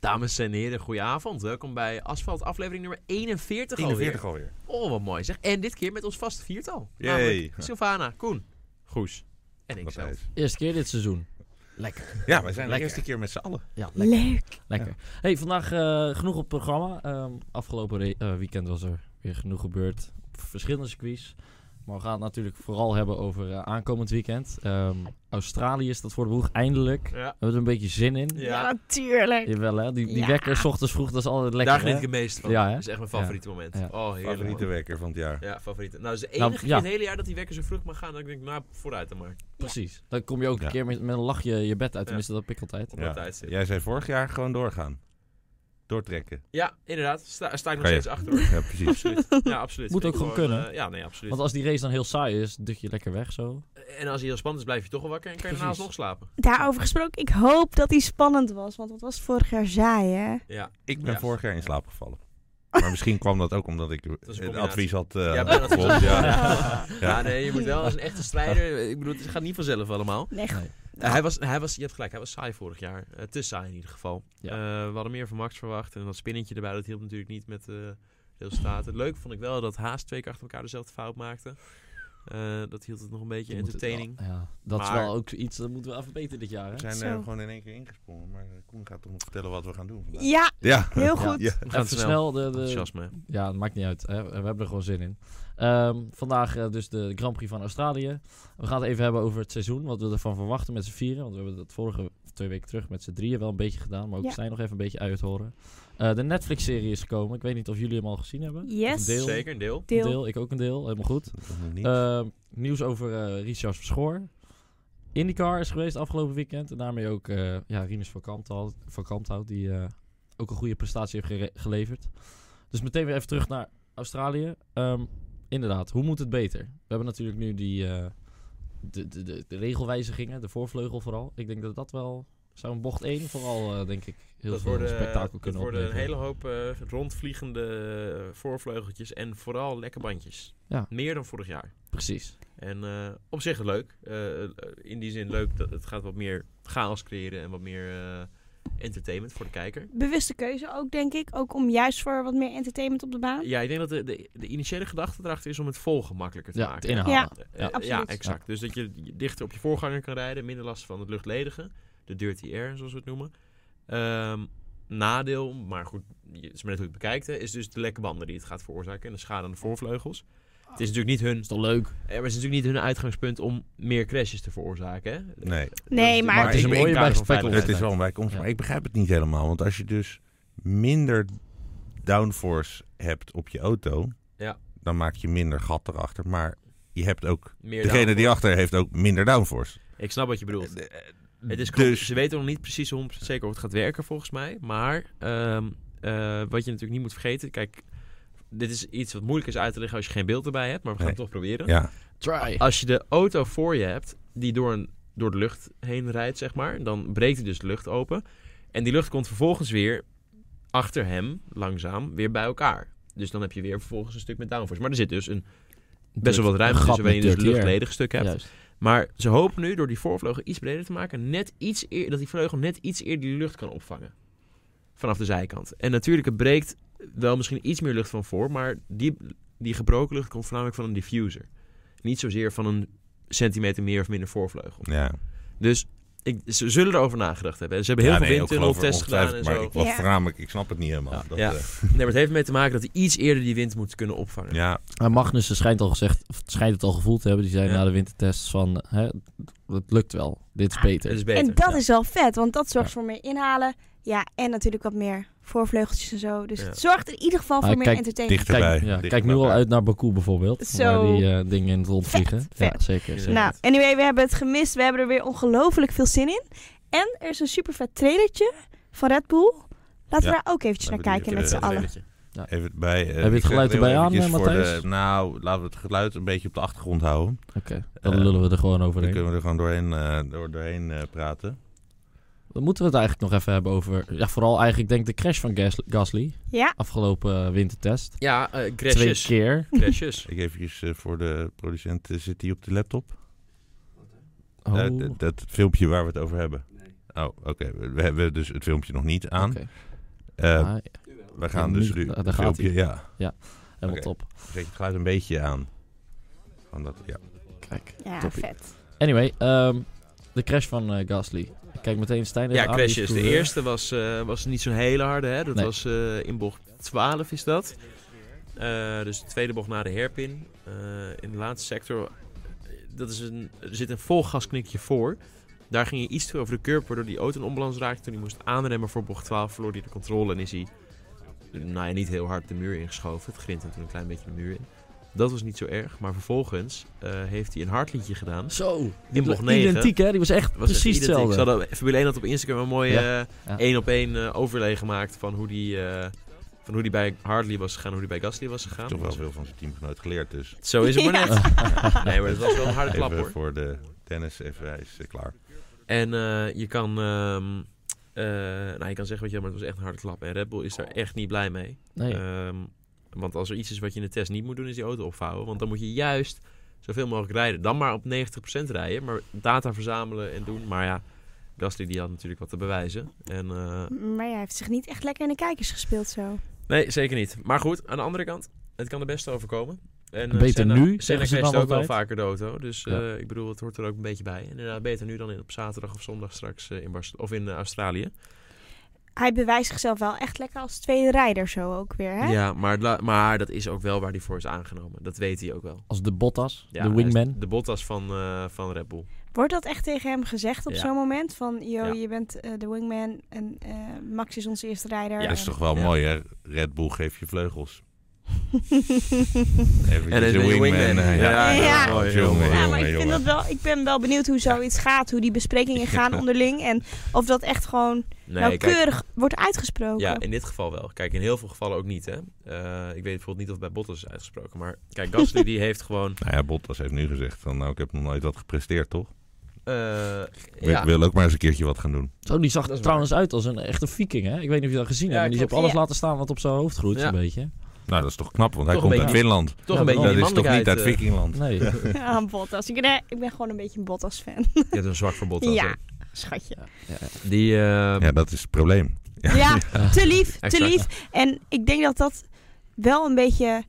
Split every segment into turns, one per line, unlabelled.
Dames en heren, goedenavond. Welkom bij Asfalt, aflevering nummer 41
41 alweer.
alweer. Oh, wat mooi zeg. En dit keer met ons vaste viertal.
Yay.
Namelijk Sylvana, Koen, Goes en ik
Matthijs.
zelf.
Eerste keer dit seizoen. Lekker.
Ja, wij zijn de
Lekker.
eerste keer met z'n allen.
Ja, lekker.
Leuk.
lekker. Hey, vandaag eh, genoeg op het programma. Ehm, afgelopen re- eh, weekend was er weer genoeg gebeurd op verschillende circuits. Maar we gaan het natuurlijk vooral hebben over eh, aankomend weekend. Ehm, Australië is dat voor de boeg, eindelijk. We
Ja.
hebben er een beetje zin in.
Ja.
Ja, natuurlijk.
Jawel hè, die, die
Ja.
wekker s ochtends vroeg, dat is altijd lekker
Daar geniet
hè?
ik het meest van.
Ja, hè?
dat is echt mijn favoriete moment.
Ja.
Oh, heerlijk.
Favoriete wekker van het jaar.
man. Ja, favoriete. Nou, dat is de enige
Nou,
keer
ja.
in het hele jaar dat die wekker zo vroeg mag gaan. Dat ik denk, nou, vooruit dan maar.
Precies. Dan kom je ook
Ja.
een keer met, met een lachje je bed uit, tenminste dat heb ik altijd.
Op dat tijdstip.
Jij zei vorig jaar gewoon doorgaan. Doortrekken.
Ja, inderdaad. Sta, sta ik nog
Kan je.
steeds achter hoor.
Ja, precies.
Absoluut. Ja, absoluut.
Moet
Ik
ook gewoon kunnen.
eh, ja, nee, absoluut.
Want als die race dan heel saai is, duk je lekker weg zo.
En als hij heel spannend is, blijf je toch wel wakker en kan je daarnaast
Precies.
nog slapen.
Daarover gesproken, ik hoop dat die spannend was. Want dat was vorig jaar saai, hè?
Ja,
Ik ben
Ja.
vorig jaar in slaap gevallen. Maar misschien kwam dat ook omdat ik
is een
het
combinatie.
advies had eh,
Ja, bijna
gevolgd,
hetzelfde.
ja.
Oh,
Ja.
Ja.
Ja, nee, je moet wel als een echte strijder. Ik bedoel, het gaat niet vanzelf allemaal.
Nee,
Nee.
Eh, hij was, hij was, je hebt gelijk, hij was saai vorig jaar. Eh, te saai in ieder geval.
Ja.
Eh, we hadden meer van Max verwacht. En dat spinnetje erbij, dat hielp natuurlijk niet met eh, de resultaten. Leuk vond ik wel dat Haas twee keer achter elkaar dezelfde fout maakte. Eh, dat hield het nog een beetje
Je moet het
entertaining.
wel- ja, dat is
Maar-
wel ook iets, dat moeten we afbeteren dit jaar hè.
We zijn eh,
Zo.
gewoon in één keer ingesprongen. Maar eh, Koen gaat toch nog vertellen wat we gaan doen vandaag.
Ja,
Ja.
heel goed.
Ja.
We gaan
Even
snel.
snel eh, de, de,
Enthousiasme.
Ja, het maakt niet uit. Hè. We hebben er gewoon zin in. Ehm, vandaag eh, dus de Grand Prix van Australië. We gaan het even hebben over het seizoen. Wat we ervan verwachten met z'n vieren. Want we hebben dat vorige twee weken terug met z'n drieën wel een beetje gedaan. Maar ook
Ja.
Stijn nog even een beetje uithoren. Eh de Netflix-serie is gekomen. Ik weet niet of jullie hem al gezien hebben.
Yes.
Een deel.
Zeker, een deel.
Een
Deel.
deel. Ik ook een deel. Helemaal goed.
Dat moet niet.
Ehm, nieuws over eh, Richard Verschoor. IndyCar is geweest afgelopen weekend. En daarmee ook eh ja, Rinus van Kamphout, van Kamphout die eh, ook een goede prestatie heeft gere- geleverd. Dus meteen weer even terug naar Australië. Ehm, inderdaad, hoe moet het beter? We hebben natuurlijk nu die eh, de, de, de, de regelwijzigingen, de voorvleugel vooral. Ik denk dat dat wel... Zou een bocht 1 vooral, eh, denk ik, heel
dat
veel
worden,
spektakel kunnen
dat worden een hele
opleveren.
hoop eh, rondvliegende eh, voorvleugeltjes en vooral lekke bandjes.
Ja.
Meer dan vorig jaar.
Precies.
En eh, op zich leuk. Eh, eh, in die zin leuk dat het gaat wat meer chaos creëren en wat meer eh, entertainment voor de kijker.
Bewuste keuze ook, denk ik. Ook om juist voor wat meer entertainment op de baan.
Ja, ik denk dat de, de, de initiële gedachte erachter is om het volgen makkelijker te
Ja, het
maken.
inhalen.
Ja.
Eh,
Ja,
eh, ja,
absoluut.
exact. Dus dat je dichter op je voorganger kan rijden, minder last van het luchtledige, de dirty air zoals we het noemen. Ehm, nadeel, maar goed, je- het is maar net hoe je het bekijkt, hè, is dus de lekke banden die het gaat veroorzaken en de schade aan de voorvleugels. Het is natuurlijk niet hun,
Is toch leuk?
eh, maar het is natuurlijk niet hun uitgangspunt om meer crashes te veroorzaken. Hè?
Nee.
Nee,
Dus-
maar-
Maar het is een
ik-
mooie
in kader van
bijspeckel.
Het
veiligheid.
is wel een bijkomst,
Ja.
maar ik begrijp het niet helemaal. Want als je dus minder downforce hebt op je auto,
Ja.
dan maak je minder gat erachter. Maar je hebt ook,
Meer
degene
down-
die achter heeft ook minder downforce.
Ik snap wat je bedoelt. Het is dus...
dus-
Ze weten nog niet precies hoe zeker hoe het gaat werken, volgens mij. Maar ehm, eh, wat je natuurlijk niet moet vergeten... Kijk, dit is iets wat moeilijk is uit te leggen als je geen beeld erbij hebt. Maar we gaan
Nee.
het toch proberen.
Ja,
Try.
Als je de auto voor je hebt, die door, een, door de lucht heen rijdt, zeg maar... dan breekt hij dus de lucht open. En die lucht komt vervolgens weer achter hem, langzaam, weer bij elkaar. Dus dan heb je weer vervolgens een stuk met downforce. Maar er zit dus een best wel wat ruimte tussen... waarin je dus een luchtledig stuk hebt.
Juist.
Maar ze hopen nu door die voorvleugel iets breder te maken, net iets eer, dat die vleugel net iets eerder die lucht kan opvangen. Vanaf de zijkant. En natuurlijk, het breekt wel misschien iets meer lucht van voor, maar die, die gebroken lucht komt voornamelijk van een diffuser. Niet zozeer van een centimeter meer of minder voorvleugel.
ja.
Dus ik, ze zullen erover nagedacht hebben. Ze hebben heel
ja,
veel
nee, ook geloof ik
windtunneltests gedaan en
ongetwijfeld,
zo.
Maar ik, wat
Ja.
voornamelijk, ik snap het niet helemaal.
Ja.
Dat,
Ja.
eh,
Nee, maar het heeft mee te maken dat hij iets eerder die wind moet kunnen opvangen.
ja,
Maar Magnussen schijnt, al gezegd, of schijnt het al gevoeld te hebben. Die zei
Ja.
na de wintertests van, hè, het lukt wel. Dit is beter.
Dat is beter.
en dat
Ja.
is wel vet, want dat zorgt
Ja.
voor meer inhalen. Ja, en natuurlijk wat meer voorvleugeltjes en zo. Dus
Ja.
het zorgt in ieder geval
Maar
voor meer
kijk,
entertainment.
dichterbij.
kijk, ja,
dichter
kijk nu
bij
al
elkaar.
uit naar Baku bijvoorbeeld.
Zo.
Waar die eh, dingen in het rond
Vet,
vliegen.
vet.
Ja, zeker. zeker.
Nou, anyway, we hebben het gemist. We hebben er weer ongelooflijk veel zin in. En er is een super vet trailertje van Red Bull. Laten we
Ja.
daar ook eventjes
Dan
naar
bedoel
kijken
je
met z'n
eh,
de-
allen.
Even bij, eh,
je het
ik zeg
geluid
heel
erbij aan,
eventjes
eh,
voor de-
Matthijs?
nou, laten we het geluid een beetje op de achtergrond houden.
Oké, dan
Eh,
lullen we er gewoon
Dan
overheen.
kunnen we er gewoon doorheen, eh, door, doorheen eh, praten.
Dan moeten we het eigenlijk nog even hebben over... Ja, vooral eigenlijk denk ik de crash van Gas- Gasly.
Ja,
Afgelopen eh, wintertest.
Ja, eh,
Twee
crashes.
keer.
Crashes.
Ik eventjes eh, voor de producent, eh, zit hij op de laptop?
Oh,
Eh, d- dat filmpje waar we het over hebben. Oh, oké. We we hebben dus het filmpje nog niet aan.
oké.
Eh,
Ah,
we gaan dus
nu-
nu.
daar
een
gaat
filmpje, ja.
helemaal
oké.
top.
Zet je het geluid een beetje aan. Want dat, ja.
Kijk.
Ja,
Toppie.
vet.
Anyway, ehm, de crash van eh, Gasly. Kijk meteen Stijn even
Ja,
aan,
Crash
die
is de
coureur.
eerste. Was, eh, was niet zo'n hele harde. Hè? Dat
Nee.
was eh, in bocht 12 is dat. Eh, dus de tweede bocht na de herpin. Eh, in de laatste sector eh, dat is een, er zit een vol gasknikje voor. Daar ging hij iets te over de curb, waardoor die auto in onbalans raakte. Toen hij moest aanremmen voor bocht 12, verloor hij de controle en is hij nou ja, niet heel hard de muur ingeschoven. Het grint hem toen een klein beetje de muur in. Dat was niet zo erg, maar vervolgens eh, heeft hij een hardliedje gedaan.
Zo,
In bocht 9
identiek hè, die was echt
was
precies
echt identiek.
hetzelfde.
Ze hadden, Formule 1 had op Instagram een mooie
Ja,
eh,
ja.
één op één eh, overlay gemaakt van hoe die, eh, van hoe die bij Hartley was gegaan, hoe die bij Gasly was gegaan.
Toch wel veel van zijn teamgenoot geleerd, dus.
Zo is het maar
Ja.
net. Nee, maar dat was wel een harde klap
Even
hoor.
voor de tennis, even, hij is eh, klaar.
En eh, je kan, ehm, eh, nou je kan zeggen wat je wil, maar het was echt een harde klap. En Red Bull is daar echt niet blij mee.
Nee,
Ehm, want als er iets is wat je in de test niet moet doen, is die auto opvouwen. Want dan moet je juist zoveel mogelijk rijden. Dan maar op 90% rijden, maar data verzamelen en doen. Maar ja, Gasly die had natuurlijk wat te bewijzen. En eh,
Maar hij heeft zich niet echt lekker in de kijkers gespeeld zo.
Nee, zeker niet. Maar goed, aan de andere kant, het kan de beste overkomen. En, eh,
Beter
Senna-
nu,
Senna
zeggen ze
crasht ook
dan
wel
altijd.
vaker de auto. Dus eh,
Ja.
ik bedoel, het hoort er ook een beetje bij. En inderdaad, beter nu dan in, op zaterdag of zondag straks eh, in, Barce- of in eh, Australië.
Hij bewijst zichzelf wel echt lekker als tweede rijder zo ook weer, hè?
Ja, maar, la- maar dat is ook wel waar hij voor is aangenomen. Dat weet hij ook wel.
als de Bottas,
Ja, hij
de
is
wingman.
De Bottas van, eh, van Red Bull.
Wordt dat echt tegen hem gezegd op
Ja.
zo'n moment? Van, yo,
Ja.
je bent eh, de wingman en eh, Max is onze eerste rijder.
Ja,
dat is toch wel
Ja.
mooi, hè? Red Bull geeft je vleugels. Even
En
de
een wingman.
eh,
Ja,
ja, ja.
mooi, heel
Jongen,
mooi.
Ja,
jongen,
maar ik, vind
jongen.
dat wel, ik ben wel benieuwd hoe zoiets gaat, hoe die besprekingen gaan onderling. En of dat echt gewoon
Nee, kijk,
nauwkeurig wordt uitgesproken.
Ja, in dit geval wel. Kijk, in heel veel gevallen ook niet, hè. Eh, ik weet bijvoorbeeld niet of het bij Bottas is uitgesproken. Maar kijk, Gasly die heeft gewoon...
Nou ja, Bottas heeft nu gezegd van, nou, ik heb nog nooit wat gepresteerd, toch?
eh,
Ik
ja.
wil ook maar eens een keertje wat gaan doen.
Zo, die zag
Dat is
er trouwens uit als een echte viking, hè? Ik weet niet of je dat gezien
Ja,
hebt, maar die
klopt.
heeft alles
Ja.
laten staan wat op zijn hoofd groeit,
Ja.
zo'n beetje.
Nou, dat is toch knap, want hij
Toch een
komt uit
beetje-
Finland.
Toch
Ja,
een beetje
dat
die
dat is toch niet
mannelijkheid,
uit
eh,
Vikingland?
Nee.
Ja, een Ah, Bottas. Ik, ben- ik ben gewoon een beetje een Bottas-fan.
Je hebt een zwak voor Bottas.
Ja,
hè?
schatje.
Die, eh,
Ja, dat is het probleem. Nou,
Ja, te lief, te
Exact.
lief. En ik denk dat dat wel een beetje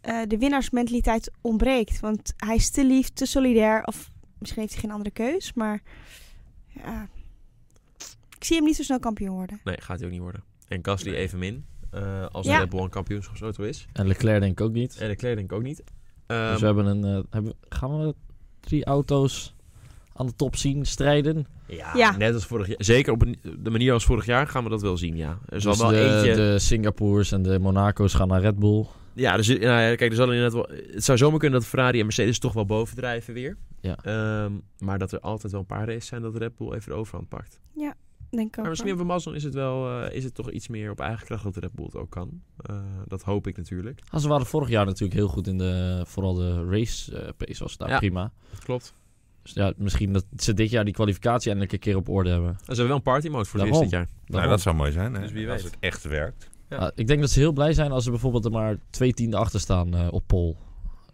eh, de winnaarsmentaliteit ontbreekt. Want hij is te lief, te solidair. Of misschien heeft hij geen andere keus, maar... Ja, ik zie hem niet zo snel kampioen worden.
Nee, gaat hij ook niet worden. En Gasly evenmin. eh als
Ja.
de Red Bull een kampioenschapsauto is.
En Leclerc denk ik ook niet.
En de kleding ook niet. Ehm,
dus we hebben een... eh, hebben, gaan we drie auto's aan de top zien, strijden?
ja,
Ja.
net als vorig jaar. Zeker op een- de manier als vorig jaar gaan we dat wel zien, ja. Er zal
dus
wel
de,
eentje...
de Singapours en de Monaco's gaan naar Red Bull.
Ja, dus, nou ja, kijk, er zal inderdaad wel, het zou zomaar kunnen dat Ferrari en Mercedes toch wel bovendrijven weer.
Ja.
Ehm, maar dat er altijd wel een paar races zijn dat Red Bull even de overhand pakt.
Denk ik ook
Maar misschien
wel.
voor Mazon is het wel eh, is het toch iets meer op eigen kracht dat Red Bull het ook kan. Eh, dat hoop ik natuurlijk.
Ah, ze waren vorig jaar natuurlijk heel goed in de... Vooral de race eh, pace was daar
Ja.
prima.
Dat klopt.
Dus ja, misschien dat ze dit jaar die kwalificatie eindelijk een keer op orde hebben.
En ze hebben wel een party mode voor het eerst
Daarom.
dit jaar.
Nou, dat zou mooi zijn, hè?
Dus wie
Als
weet.
het echt werkt.
Ja.
Ah, ik denk dat ze heel blij zijn als er bijvoorbeeld er maar twee tienden achter staan eh, op pol.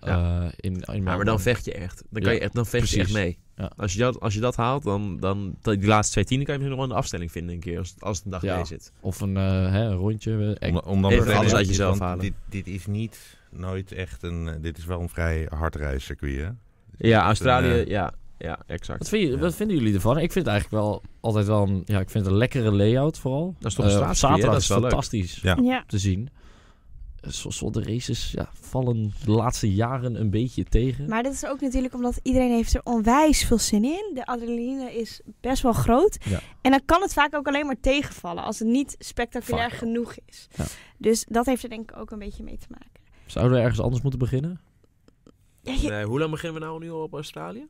Ja.
Eh, in, in
Ja, maar
Melbourne.
dan vecht je echt. Dan, kan
Ja,
je echt, dan vecht je echt
precies.
mee.
Ja.
Als, je dat, als je dat haalt, dan, dan die laatste twee tienen kan je misschien nog wel in de afstelling vinden een keer. Als, als het een dag
Ja.
mee zit.
Of een, eh, hè, een rondje. eh,
Om, om dan
Even
meteen
alles uit
eventjes,
jezelf
want
halen.
Dit, dit is niet nooit echt een... eh, Dit is wel een vrij hard reiscircuit, hè?
Ja, Australië,
Australië,
ja. Ja, exact.
Wat, vind je,
Ja.
wat vinden jullie ervan? Ik vind het eigenlijk wel altijd wel een, ja, ik vind het een lekkere layout vooral.
Dat is toch een
Eh, op
straatcircuit, hè?
Zaterdag
Dat
is
is wel leuk.
fantastisch
Ja.
Ja,
te zien. Eh, Zo, zo de races ja, vallen de laatste jaren een beetje tegen.
maar dat is ook natuurlijk omdat iedereen heeft er onwijs veel zin in. De adrenaline is best wel groot.
Ja.
En dan kan het vaak ook alleen maar tegenvallen als het niet spectaculair
Vaak wel.
genoeg is.
Ja.
Dus dat heeft er denk ik ook een beetje mee te maken.
Zouden we ergens anders moeten beginnen?
Ja, je-
hoe lang beginnen we nou nu al op Australië?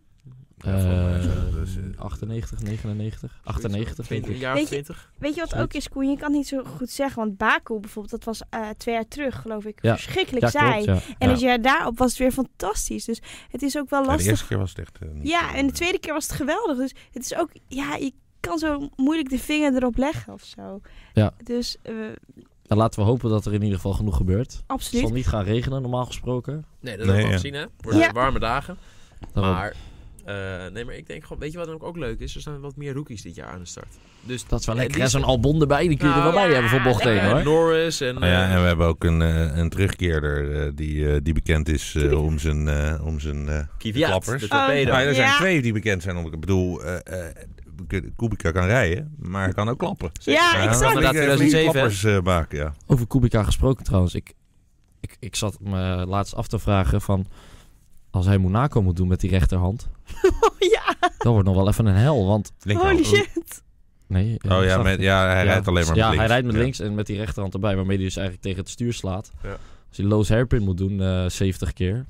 Ja, volgens mij
Eh,
zo, dus, eh,
98, 99, 98 denk
Een
ik.
jaar
Weet
of
je-
twintig?
Weet je wat
Zoiets.
ook is, Koen? Je kan het niet zo goed zeggen. Want Baku bijvoorbeeld, dat was eh, twee jaar terug, geloof ik,
Ja.
verschrikkelijk
Ja,
saai.
klopt, ja.
En
Ja.
het jaar daarop was het weer fantastisch. Dus het is ook wel
Ja, de
lastig.
eerste keer was het echt... eh, niet
Ja,
zo-
en de tweede keer was het geweldig. Dus het is ook, ja, je kan zo moeilijk de vinger erop leggen of zo.
Ja.
Dus eh,
Nou, laten we hopen dat er in ieder geval genoeg gebeurt. Het
absoluut.
zal niet gaan regenen normaal gesproken.
Nee, dat
Nee,
hebben we al
ja.
gezien, hè? Worden
Ja.
warme dagen.
Daarom.
Maar Eh, nee, maar ik denk gewoon, weet je wat dan ook, ook leuk is? Er staan wat meer rookies dit jaar aan de start. Dus
Dat is wel
Eh,
lekker.
die
hè,
is-
Zo'n Albon erbij, die kun je er wel
Nou,
bij
ja,
hebben voor bocht
lekker.
één,
eh,
hoor.
Norris en...
Nou ja,
eh,
en we hebben ook een, eh, een terugkeerder eh, die, eh, die bekend is eh, om zijn... eh, om zijn eh,
Kvyat,
klappers.
de
Oh.
torpedo.
Ah,
Nou, er zijn
Ja.
twee die bekend zijn. Om, ik bedoel, eh, eh, Kubica kan rijden, maar hij kan ook klappen.
Ja,
Zeker.
Ja,
exact.
dat
Inderdaad, 2007, hè?
klappers eh, maken, ja.
Over Kubica gesproken trouwens. Ik, ik, ik zat me laatst af te vragen van... Als hij Monaco moet doen met die rechterhand...
ja,
dat wordt nog wel even een hel, want...
holy shit.
Nee,
Oh ja,
snap
met,
je?
ja hij rijdt alleen maar
Ja,
met links.
hij rijdt met
Ja.
links en met die rechterhand erbij... waarmee hij dus eigenlijk tegen het stuur slaat.
Ja.
Als hij Loos Hairpin moet doen eh 70 keer...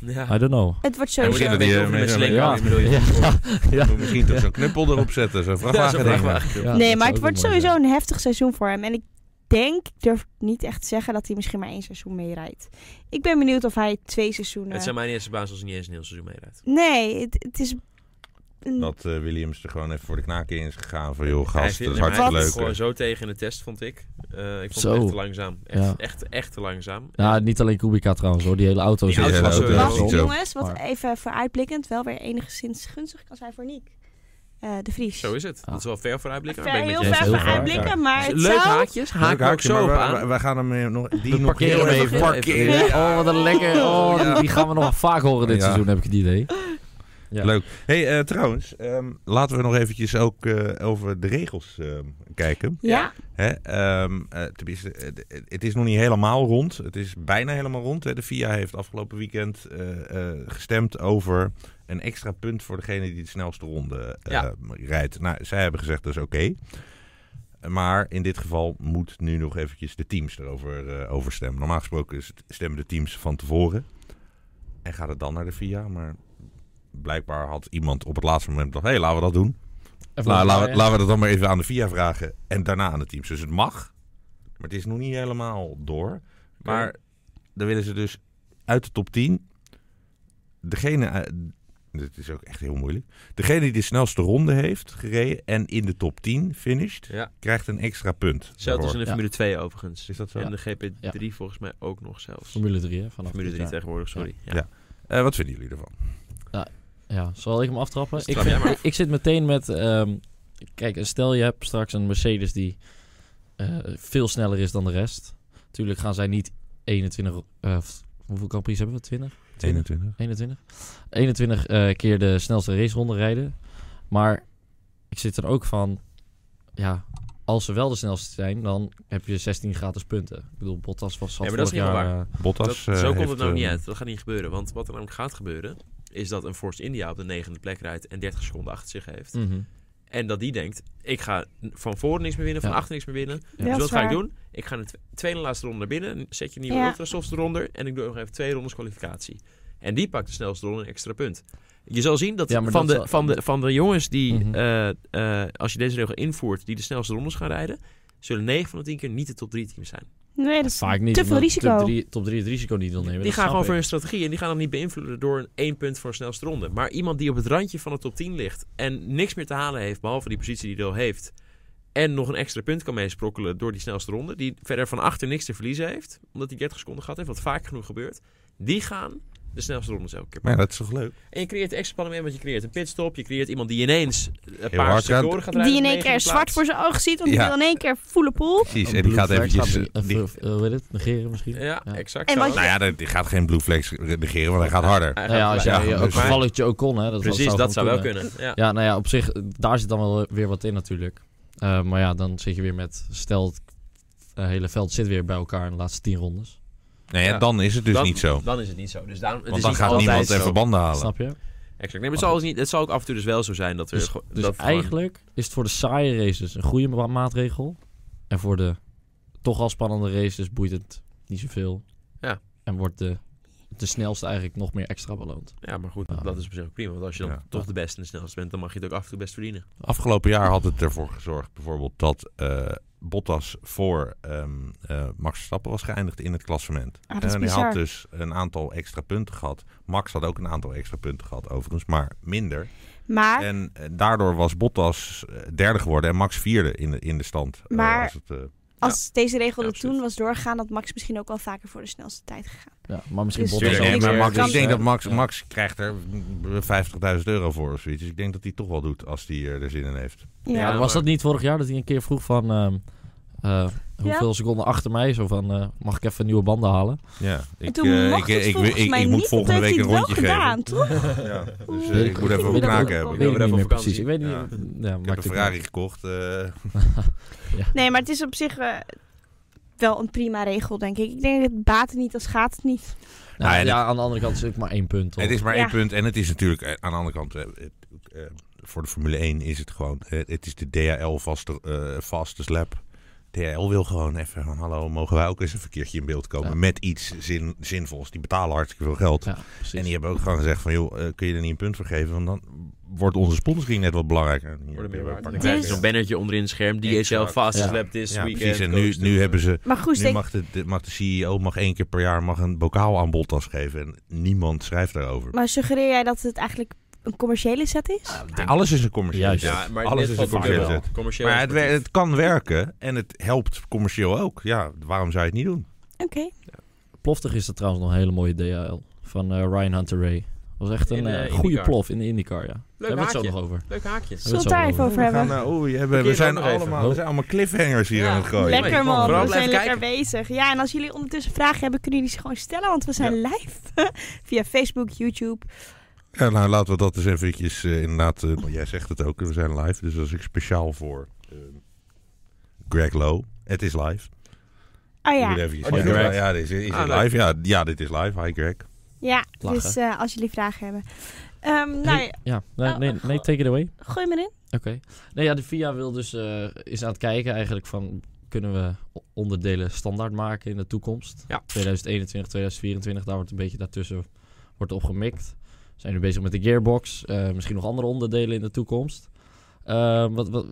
Ja.
I don't know.
Het wordt
Ja,
Hij
moet
sowieso.
je een
misschien dat
beetje
hij,
over met
eh, met-
slinker
ja.
aan, bedoel je.
Ja. Ja.
Moet Misschien toch zo'n knuppel erop zetten, zo'n
Ja, zo'n
vrachtwagen ding.
vrachtwagen.
Ja,
nee,
dat
maar
zou
het
ook
wordt
wel mooi
sowieso
zijn.
een heftig seizoen voor hem. En ik denk, ik durf niet echt te zeggen dat hij misschien maar één seizoen meerijdt. Ik ben benieuwd of hij twee seizoenen...
Het zou mij niet eens verbazen als hij niet eens een heel seizoen meerijdt.
Nee, het, het is... een-
Dat eh, Williams er gewoon even voor de knaken in is gegaan. Van joh,
Hij
gast,
vindt-
dat is
hij
hartstikke
viel
leuk.
gewoon
hè.
zo tegen in de test, vond ik. Eh, ik vond
Zo.
het echt te langzaam. Echt,
Ja.
echt, echt te langzaam.
Ja, niet alleen Kubica trouwens hoor. Die hele auto
Die
zit
auto
er
was
ook
sowieso
in.
Wat,
eh, niet zo.
jongens, wat
Maar-
even vooruitblikkend wel weer enigszins gunstig kan zijn voor Nick. Eh, de Vries.
Zo is het. Dat is wel ver vooruitblikken. maar
Ver,
ik ben
heel
het met
ver
je eens.
Heel ver.
vooruitblikken,
Ja.
maar het
Leuk
zou...
Dus haakjes. Haak
Leuk
ik ook
haakje,
zo op
maar we-
aan.
we- we gaan hem eh, nog, die
We
nog
parkeren
heel
hem
even
even.
parkeren.
Even.
Oh, wat een lekker. Oh, die, die gaan we nog wel vaak horen dit
Ja.
seizoen, heb ik het idee. Ja.
Leuk. hey, eh, trouwens, ehm, laten we nog eventjes ook eh, over de regels ehm, kijken.
Ja,
Hè? ehm, eh, tenminste, eh, d- het is nog niet helemaal rond. Het is bijna helemaal rond. Hè? De FIA heeft afgelopen weekend eh, eh, gestemd over een extra punt voor degene die de snelste ronde eh,
Ja.
rijdt. Nou, zij hebben gezegd dat is oké. Maar in dit geval moet nu nog eventjes de teams erover eh, over stemmen. Normaal gesproken is het- stemmen de teams van tevoren. En gaat het dan naar de FIA. Maar blijkbaar had iemand op het laatste moment gedacht... hé, hey, laten we dat doen. Nou, laten, we, laten we dat dan maar even aan de VIA vragen en daarna aan de teams. Dus het mag, maar het is nog niet helemaal door. Maar dan willen ze dus uit de top 10, degene, eh, dit is ook echt heel moeilijk, degene die de snelste ronde heeft gereden en in de top 10 finisht,
Ja.
krijgt een extra punt.
Zelfs als in
daarvoor.
de Formule 2 overigens.
Is dat zo?
En de GP3 volgens mij ook nog zelfs.
Formule 3, hè? Vanaf
Formule
dit
3
jaar.
tegenwoordig, sorry. Ja.
Ja. Eh, wat vinden jullie ervan?
Ja, zal ik hem aftrappen? Ik,
Trap jij maar
vind- ik zit meteen met... ehm, kijk, stel je hebt straks een Mercedes die eh, veel sneller is dan de rest. Natuurlijk gaan zij niet 21... eh, of hoeveel Grand Prix hebben we? 20?
21.
21? 21 eh, keer de snelste raceronde rijden. Maar ik zit er ook van... Ja, als ze wel de snelste zijn, dan heb je 16 gratis punten. Ik bedoel, Bottas was zat
Ja, maar dat is
vorig
niet
jaar...
waar.
eh,
Bottas.
Dat-
eh,
zo komt
heeft,
het nou
eh,
niet uit. Dat gaat niet gebeuren. Want wat er namelijk gaat gebeuren, is dat een Force India op de negende plek rijdt en 30 seconden achter zich heeft.
mhm.
En dat die denkt, ik ga van voren niks meer winnen, van
Ja.
achter niks meer winnen.
Ja.
dus
dat
wat
is
ga ik
waar.
doen? Ik ga in de tw- tweede en laatste ronde naar binnen, zet je nieuwe
Ja.
ultrasofts eronder en ik doe nog even twee rondes kwalificatie. En die pakt de snelste ronde een extra punt. Je zal zien dat,
Ja, maar
van, de,
dat zal-
van, de, van de jongens die,
Mhm.
eh, eh, als je deze regel invoert, die de snelste rondes gaan rijden, zullen 9 van de 10 keer niet de top 3 teams zijn.
Nee, dat is
Vaak niet.
te veel
omdat
risico.
Top 3, top drie het risico niet wil nemen.
Die
dat
gaan
snap
gewoon voor
ik.
hun strategie en die gaan dan niet beïnvloeden door een één punt voor een snelste ronde. Maar iemand die op het randje van de top 10 ligt en niks meer te halen heeft, behalve die positie die hij al heeft, en nog een extra punt kan meesprokkelen door die snelste ronde, die verder van achter niks te verliezen heeft, omdat hij 30 seconden gehad heeft, wat vaak genoeg gebeurt, die gaan de snelste rondes elke keer.
Maar ja, dat is toch leuk?
En je creëert extra spanning mee, want je creëert een pitstop, je creëert iemand die ineens een paar
hard
sectoren
gaat-
gaat rijden.
Die in één
negende
keer zwart
plaats.
voor zijn ogen ziet, want die
Ja.
wil in één keer voele poel.
Precies,
Een
en die
blue
gaat
flag
eventjes...
gaat die-
die-
of- eh, hoe heet het? Negeren misschien?
Ja,
Ja.
exact.
En
zo.
wat je-
nou ja, die gaat geen blue flags negeren, want hij gaat harder.
Hij
Nou ja,
gaat
als
ja,
jij
gelijk.
ja, ook
dus-
Maar-
gevallig Ocon, hè. Dat,
Precies,
gewoon
dat zou wel kunnen. Ja.
Ja, nou ja, op zich, eh, daar zit dan wel weer wat in natuurlijk. Eh, maar ja, dan zit je weer met... Stel, het eh, hele veld zit weer bij elkaar in de laatste tien rondes.
Nee,
Ja.
ja, dan is het dus
dan,
niet zo.
Dan is het niet zo. Dus daarom, het
Want
is
dan
niet
gaat
altijd
niemand
zo.
even banden halen.
Snap je?
Exact. Nee, maar het zal, dus niet, het zal ook af en toe dus wel zo zijn dat er
Dus,
gewoon-
dus
dat gewoon-
eigenlijk is het voor de saaie races een goede ma- maatregel. En voor de toch al spannende races boeit het niet zoveel.
Ja.
En wordt de, de snelste eigenlijk nog meer extra beloond.
ja, maar goed,
Ja.
dat is op zich ook prima. Want als je dan
Ah. Ja.
toch de beste en de snelste bent, dan mag je het ook af en toe best verdienen.
Afgelopen jaar had het ervoor gezorgd bijvoorbeeld dat eh, Bottas voor ehm, eh, Max Verstappen was geëindigd in het klassement.
Ah, dat is
en hij
bizar.
had dus een aantal extra punten gehad. Max had ook een aantal extra punten gehad overigens, maar minder.
Maar
En eh, daardoor was Bottas eh, derde geworden en Max vierde in de, in de stand. eh,
Maar-
als het, eh,
als deze regel
Ja,
er toen
absoluut.
was doorgegaan, had Max misschien ook wel vaker voor de snelste tijd gegaan.
Ja, maar misschien
Dus
Bottas
Tuurlijk,
Tuurlijk,
ook.
nee, maar Max,
ik kan-
ik denk dat Max,
Ja.
Max krijgt er 50.000 euro voor of zoiets. Dus ik denk dat hij het toch wel doet als hij eh, er zin in heeft.
Ja,
Ja,
was dat
maar-
niet vorig jaar dat hij een keer vroeg van ehm, eh, hoeveel seconden achter mij? Zo van, eh, mag ik even nieuwe banden halen?
Ja, ik,
toen
eh,
mocht
ik,
het
ik, ik,
volgens
ik,
mij
moet
niet,
volgende
want
week een
heeft hij
rondje
het wel
geven.
gedaan, toch?
Ja, dus eh,
Weet
ik
ik-
moet even
weet
een
ik ook-
knaken hebben.
weet
Ik
weet
hebben daar
ik niet
voor
meer
vakantie.
precies. Ik weet niet.
Ja.
Ja,
heb
maakt
een
het
Ferrari
niet.
gekocht. eh,
Nee, maar het is op zich eh, wel een prima regel, denk ik. Ik denk dat het baat het niet als gaat het niet.
Nou,
Nou, en
ja, aan de andere kant is het ook maar één punt. toch?
Het is maar één
Ja.
punt. En het is natuurlijk eh, aan de andere kant. eh, het, eh, voor de Formule 1 is het gewoon. eh, het is de DHL vaste, eh vaste slap. DHL wil gewoon even van hallo, mogen wij ook eens een keertje in beeld komen
Ja.
met iets zin, zinvols. Die betalen hartstikke veel geld.
Ja, precies.
En die hebben ook gewoon gezegd van joh, eh, kun je er niet een punt voor geven? Want dan wordt onze sponsoring net wat belangrijker. En hier
Worden meer
hebben we
waard.
een
Dan
paar
krijg je
Dus-
zo'n bannertje onderin het scherm. DHL
Exact.
fastest
Ja.
lap this
Ja,
weekend.
precies. En nu, nu hebben ze
Maar Goes
nu
denk
mag de, de- mag de CEO mag één keer per jaar mag een bokaal aan Bottas geven. En niemand schrijft daarover.
Maar suggereer jij dat het eigenlijk een commerciële set is?
Ah.
Ja, alles is een commerciële
Juist.
zet.
Ja, maar
alles is een commerciële zet.
commercieel.
Maar het, wer- het kan werken en het helpt commercieel ook. Ja, waarom zou je het niet doen?
Oké.
Ploftig is dat trouwens nog een hele mooie DHL van eh, Ryan Hunter Ray. Was echt een
In, eh,
eh,
IndyCar.
goede plof in de IndyCar, ja. Daar hebben we het zo
haakje.
nog over.
Leuk haakje.
Zullen we het daar even over
We,
hebben?
gaan, eh, oei, hebben- we,
Verkeerde
zijn
nog even.
allemaal, we zijn allemaal cliffhangers hier
Ja,
aan het gooien.
Lekker man,
Vooral
we zijn
blijven
lekker bezig. Ja, en als jullie ondertussen vragen hebben, kunnen jullie ze gewoon stellen, want we zijn live via Facebook, YouTube.
Ja, nou, laten we dat eens eventjes eh, inderdaad... eh, want jij zegt het ook, we zijn live. Dus als ik speciaal voor eh, Greg Lowe. Het is live.
Oh
Moet
ja,
eventjes-
Oh, die
ja,
Greg.
ja, dit is, is
Ah,
het
leuk.
live. Ja, ja, dit is live. Hi Greg.
ja
Lachen.
dus eh, als jullie vragen hebben. Ehm nou,
Hey, ja, nee,
Oh,
nee,
oh,
nee, take it away.
gooi maar in.
Oké. Nee, ja, de VIA wil dus, eh, is aan het kijken eigenlijk van... kunnen we o- onderdelen standaard maken in de toekomst?
Ja.
2021, 2024, daar wordt een beetje daartussen wordt opgemikt. We zijn nu bezig met de gearbox. eh, misschien nog andere onderdelen in de toekomst. Eh, wat, wat,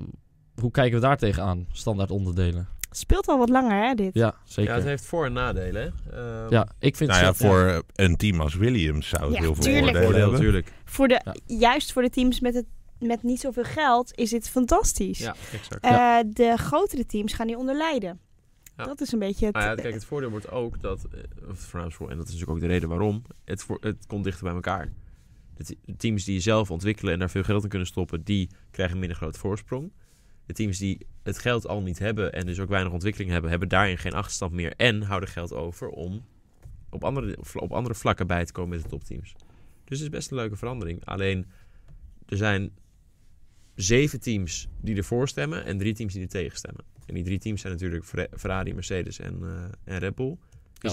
hoe kijken we daar tegenaan, standaard onderdelen?
Speelt al wat langer hè, dit.
Ja,
Ja,
zeker.
het
Ja,
heeft voor- en nadelen. hè. Ehm,
ik vind
Nou ja,
het-
voor een team als Williams zou het
Ja,
heel veel
tuurlijk.
voordelen
Voordeel
hebben.
natuurlijk.
Voor de,
Ja.
Juist voor de teams met, het, met niet zoveel geld is dit fantastisch.
Ja, exact.
Eh, de grotere teams gaan hier onder lijden.
Ja.
Dat is een beetje het...
Nou ja, kijk, het voordeel wordt ook dat, eh, of voornamelijk voor- en dat is natuurlijk ook de reden waarom, het, voor, het komt dichter bij elkaar. De te- de teams die zelf ontwikkelen en daar veel geld in kunnen stoppen, die krijgen een minder groot voorsprong. De teams die het geld al niet hebben en dus ook weinig ontwikkeling hebben, hebben daarin geen achterstand meer en houden geld over om op andere, op andere vlakken bij te komen met de topteams. Dus het is best een leuke verandering. Alleen, er zijn zeven teams die ervoor stemmen en drie teams die er tegen stemmen. En die drie teams zijn natuurlijk Ferra- Ferrari, Mercedes en, eh, en Red Bull.
Ja,
zijn
want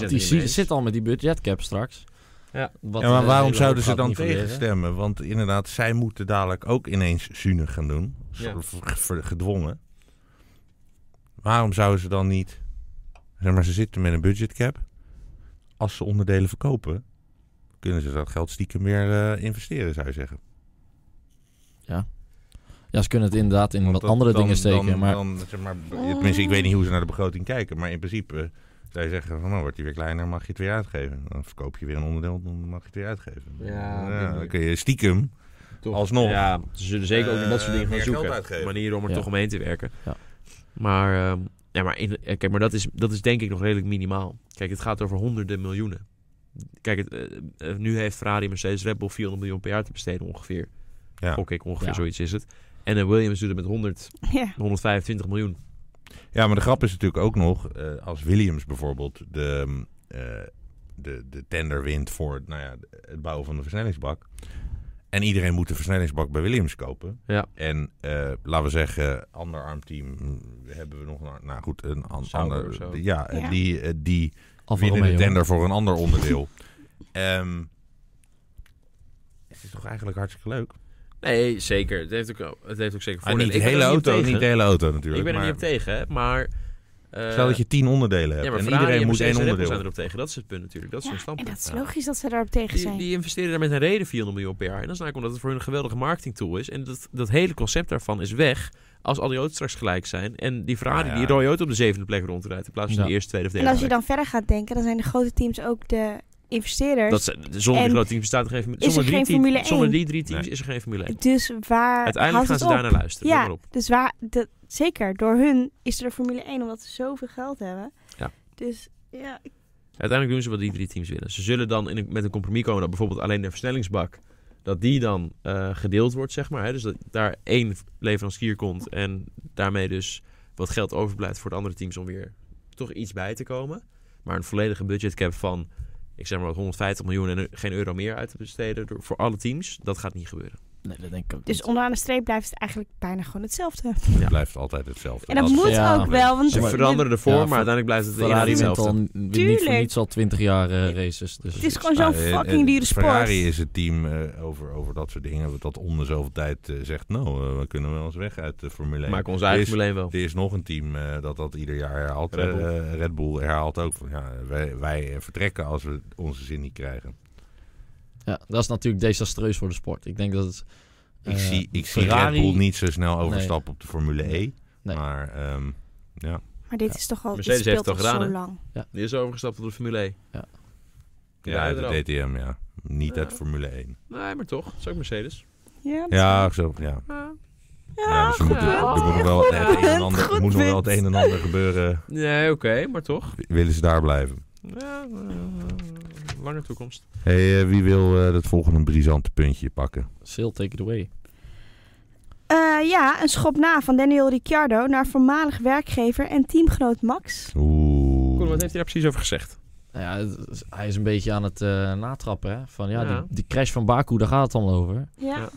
het
die
niet
zie-
mee eens.
zit al met die budgetcap straks.
Ja.
Wat,
ja, maar
eh,
waarom
heel
zouden
hoog
ze
gaat
dan
nivelleren.
tegenstemmen? Want inderdaad, zij moeten dadelijk ook ineens zuinig gaan doen.
Ja.
Soort v- v- Gedwongen. Waarom zouden ze dan niet... Zeg maar, ze zitten met een budgetcap. Als ze onderdelen verkopen, kunnen ze dat geld stiekem weer eh, investeren, zou je zeggen.
Ja, ze kunnen het inderdaad in wat
Want dat-
andere
dan-
dingen steken.
dan-
maar
dan, zeg maar, tenminste, ik weet niet hoe ze naar de begroting kijken. Maar in principe eh, zou je zeggen, van, nou wordt die weer kleiner, mag je het weer uitgeven. Dan verkoop je weer een onderdeel, dan mag je het weer uitgeven.
Ja, op die
ja,
manier.
dan kun je stiekem
Toch.
Alsnog.
Ja, ze zullen zeker ook in dat soort dingen
Eh,
gaan
meer geld
zoeken.
uitgeven.
Manieren om er
Ja.
toch omheen te werken.
Ja.
Maar, ehm, ja, maar, in, eh, kijk, maar dat, is, dat is denk ik nog redelijk minimaal. Kijk, het gaat over honderden miljoenen. Kijk, het, eh, eh, nu heeft Ferrari, Mercedes, Red Bull 400 miljoen per jaar te besteden ongeveer.
Ja.
Gok ik, ongeveer
Ja.
zoiets is het. En eh, Williams doet het met 100,
Ja.
125 miljoen.
Ja, maar de grap is natuurlijk ook nog, eh, als Williams bijvoorbeeld de, mm, eh, de, de tender wint voor nou ja, het bouwen van de versnellingsbak. En iedereen moet de versnellingsbak bij Williams kopen.
Ja.
En eh, laten we zeggen, ander armteam mm, hebben we nog. een- Nou goed, een an-
Sauber
ander.
of zo.
Ja, eh,
Ja.
die, eh, die
Alfa
winnen de
Romeo.
tender voor een ander onderdeel. Ehm, het is toch eigenlijk hartstikke leuk.
Nee, zeker. Het heeft ook, het heeft ook zeker
Ah,
voordelen.
niet de
Ik ben er
hele
niet op
auto,
tegen.
niet de hele auto natuurlijk.
Ik ben er
maar-
niet op tegen, hè, maar... eh,
Stel dat je tien onderdelen hebt
ja, maar
en
Ferrari
iedereen
en
moet
Mercedes
één
en Red Bull
onderdeel.
zijn erop tegen. Dat is het punt natuurlijk. Dat is
Ja,
hun
en
standpunt.
dat is
Ja.
logisch dat ze daarop tegen
Die,
zijn.
die investeren daar met een reden 400 miljoen per jaar. En dat is eigenlijk omdat het voor hun een geweldige marketingtool is. En dat, dat hele concept daarvan is weg als al die auto's straks gelijk zijn. En die Ferrari,
Nou ja.
die rode auto op de zevende plek rondrijdt. In plaats van de
Ja.
eerste, tweede of
en
derde
als je
plek.
dan verder gaat denken, dan zijn de grote teams ook de investeerders.
Dat zijn- zonder
En
die grote teams bestaat er geen, zonder
er
die
geen
team-
Formule
Zonder
1?
die drie teams
Nee.
is er geen Formule 1.
Dus waar
Uiteindelijk
houdt
gaan
het
ze
op?
daar naar luisteren.
Ja.
let maar op.
Dus waar, dat, Zeker, door hun is er de Formule 1 omdat ze zoveel geld hebben.
Ja.
Dus ja, ik-
Uiteindelijk doen ze wat die drie teams willen. Ze zullen dan in een- met een compromis komen dat bijvoorbeeld alleen de versnellingsbak, dat die dan eh, gedeeld wordt, zeg maar. Hè? Dus dat daar één leverancier komt en daarmee dus wat geld overblijft voor de andere teams om weer toch iets bij te komen. Maar een volledige budgetcap van, ik zeg maar wat, 150 miljoen en er geen euro meer uit te besteden door, voor alle teams, dat gaat niet gebeuren.
Nee, dat denk ik ook
dus onderaan de streep blijft het eigenlijk bijna gewoon hetzelfde.
Het blijft altijd hetzelfde.
En dat
Als-
moet
Ja.
ook wel, want
Ze
maar-
veranderen de vorm,
Ja,
maar uiteindelijk blijft het inhoud
Ferrari wint
hetzelfde.
al n- niet voor
Tuurlijk.
niets al 20 jaar eh, races. Dus
het is gewoon zo'n
Nou, eh,
fucking
eh,
dure sport.
Ferrari is het team eh, over, over dat soort dingen. Dat om de zoveel tijd eh, zegt, nou, eh, we kunnen wel eens weg uit de Formule 1.
Maken onze eigen
Is-
probleem wel.
Er is nog een team eh, dat dat ieder jaar herhaalt.
Red
Red
Bull.
Bull, Red Bull herhaalt ook van ja, wij, wij eh, vertrekken als we onze zin niet krijgen.
Ja, dat is natuurlijk desastreus voor de sport. Ik denk dat het...
Ik,
eh,
zie, ik zie Red
Ferrari-
Bull niet zo snel overstappen op de Formule E.
Nee.
Maar ehm, ja,
Maar dit
Ja.
is toch al, dit
Mercedes
speelt
heeft het al
al
gedaan,
zo
hè?
lang.
Die is overgestapt op de Formule 1.
Ja.
ja, uit
eraf.
de DTM, ja. Niet
Ja.
uit Formule 1.
Nee, maar toch. Dat is ook Mercedes.
Ja,
Ja, zo, ja. Ja, dus er moet, er
punt.
moet nog wel het een en ander, er
Goed
moet nog wel
punt.
het een en ander gebeuren.
Nee, oké, maar toch.
Willen ze daar blijven?
Ja, eh, lange toekomst.
Hey, eh, wie wil eh, het volgende brisante puntje pakken?
Sale, take it away.
Eh, ja, een schop na van Daniel Ricciardo naar voormalig werkgever en teamgenoot Max.
Oeh.
Koen, wat heeft hij daar precies over gezegd?
Nou ja, het is- hij is een beetje aan het eh, natrappen. Hè? Van ja,
Ja.
Die, die crash van Baku, daar gaat het allemaal over.
Ja.
Ja.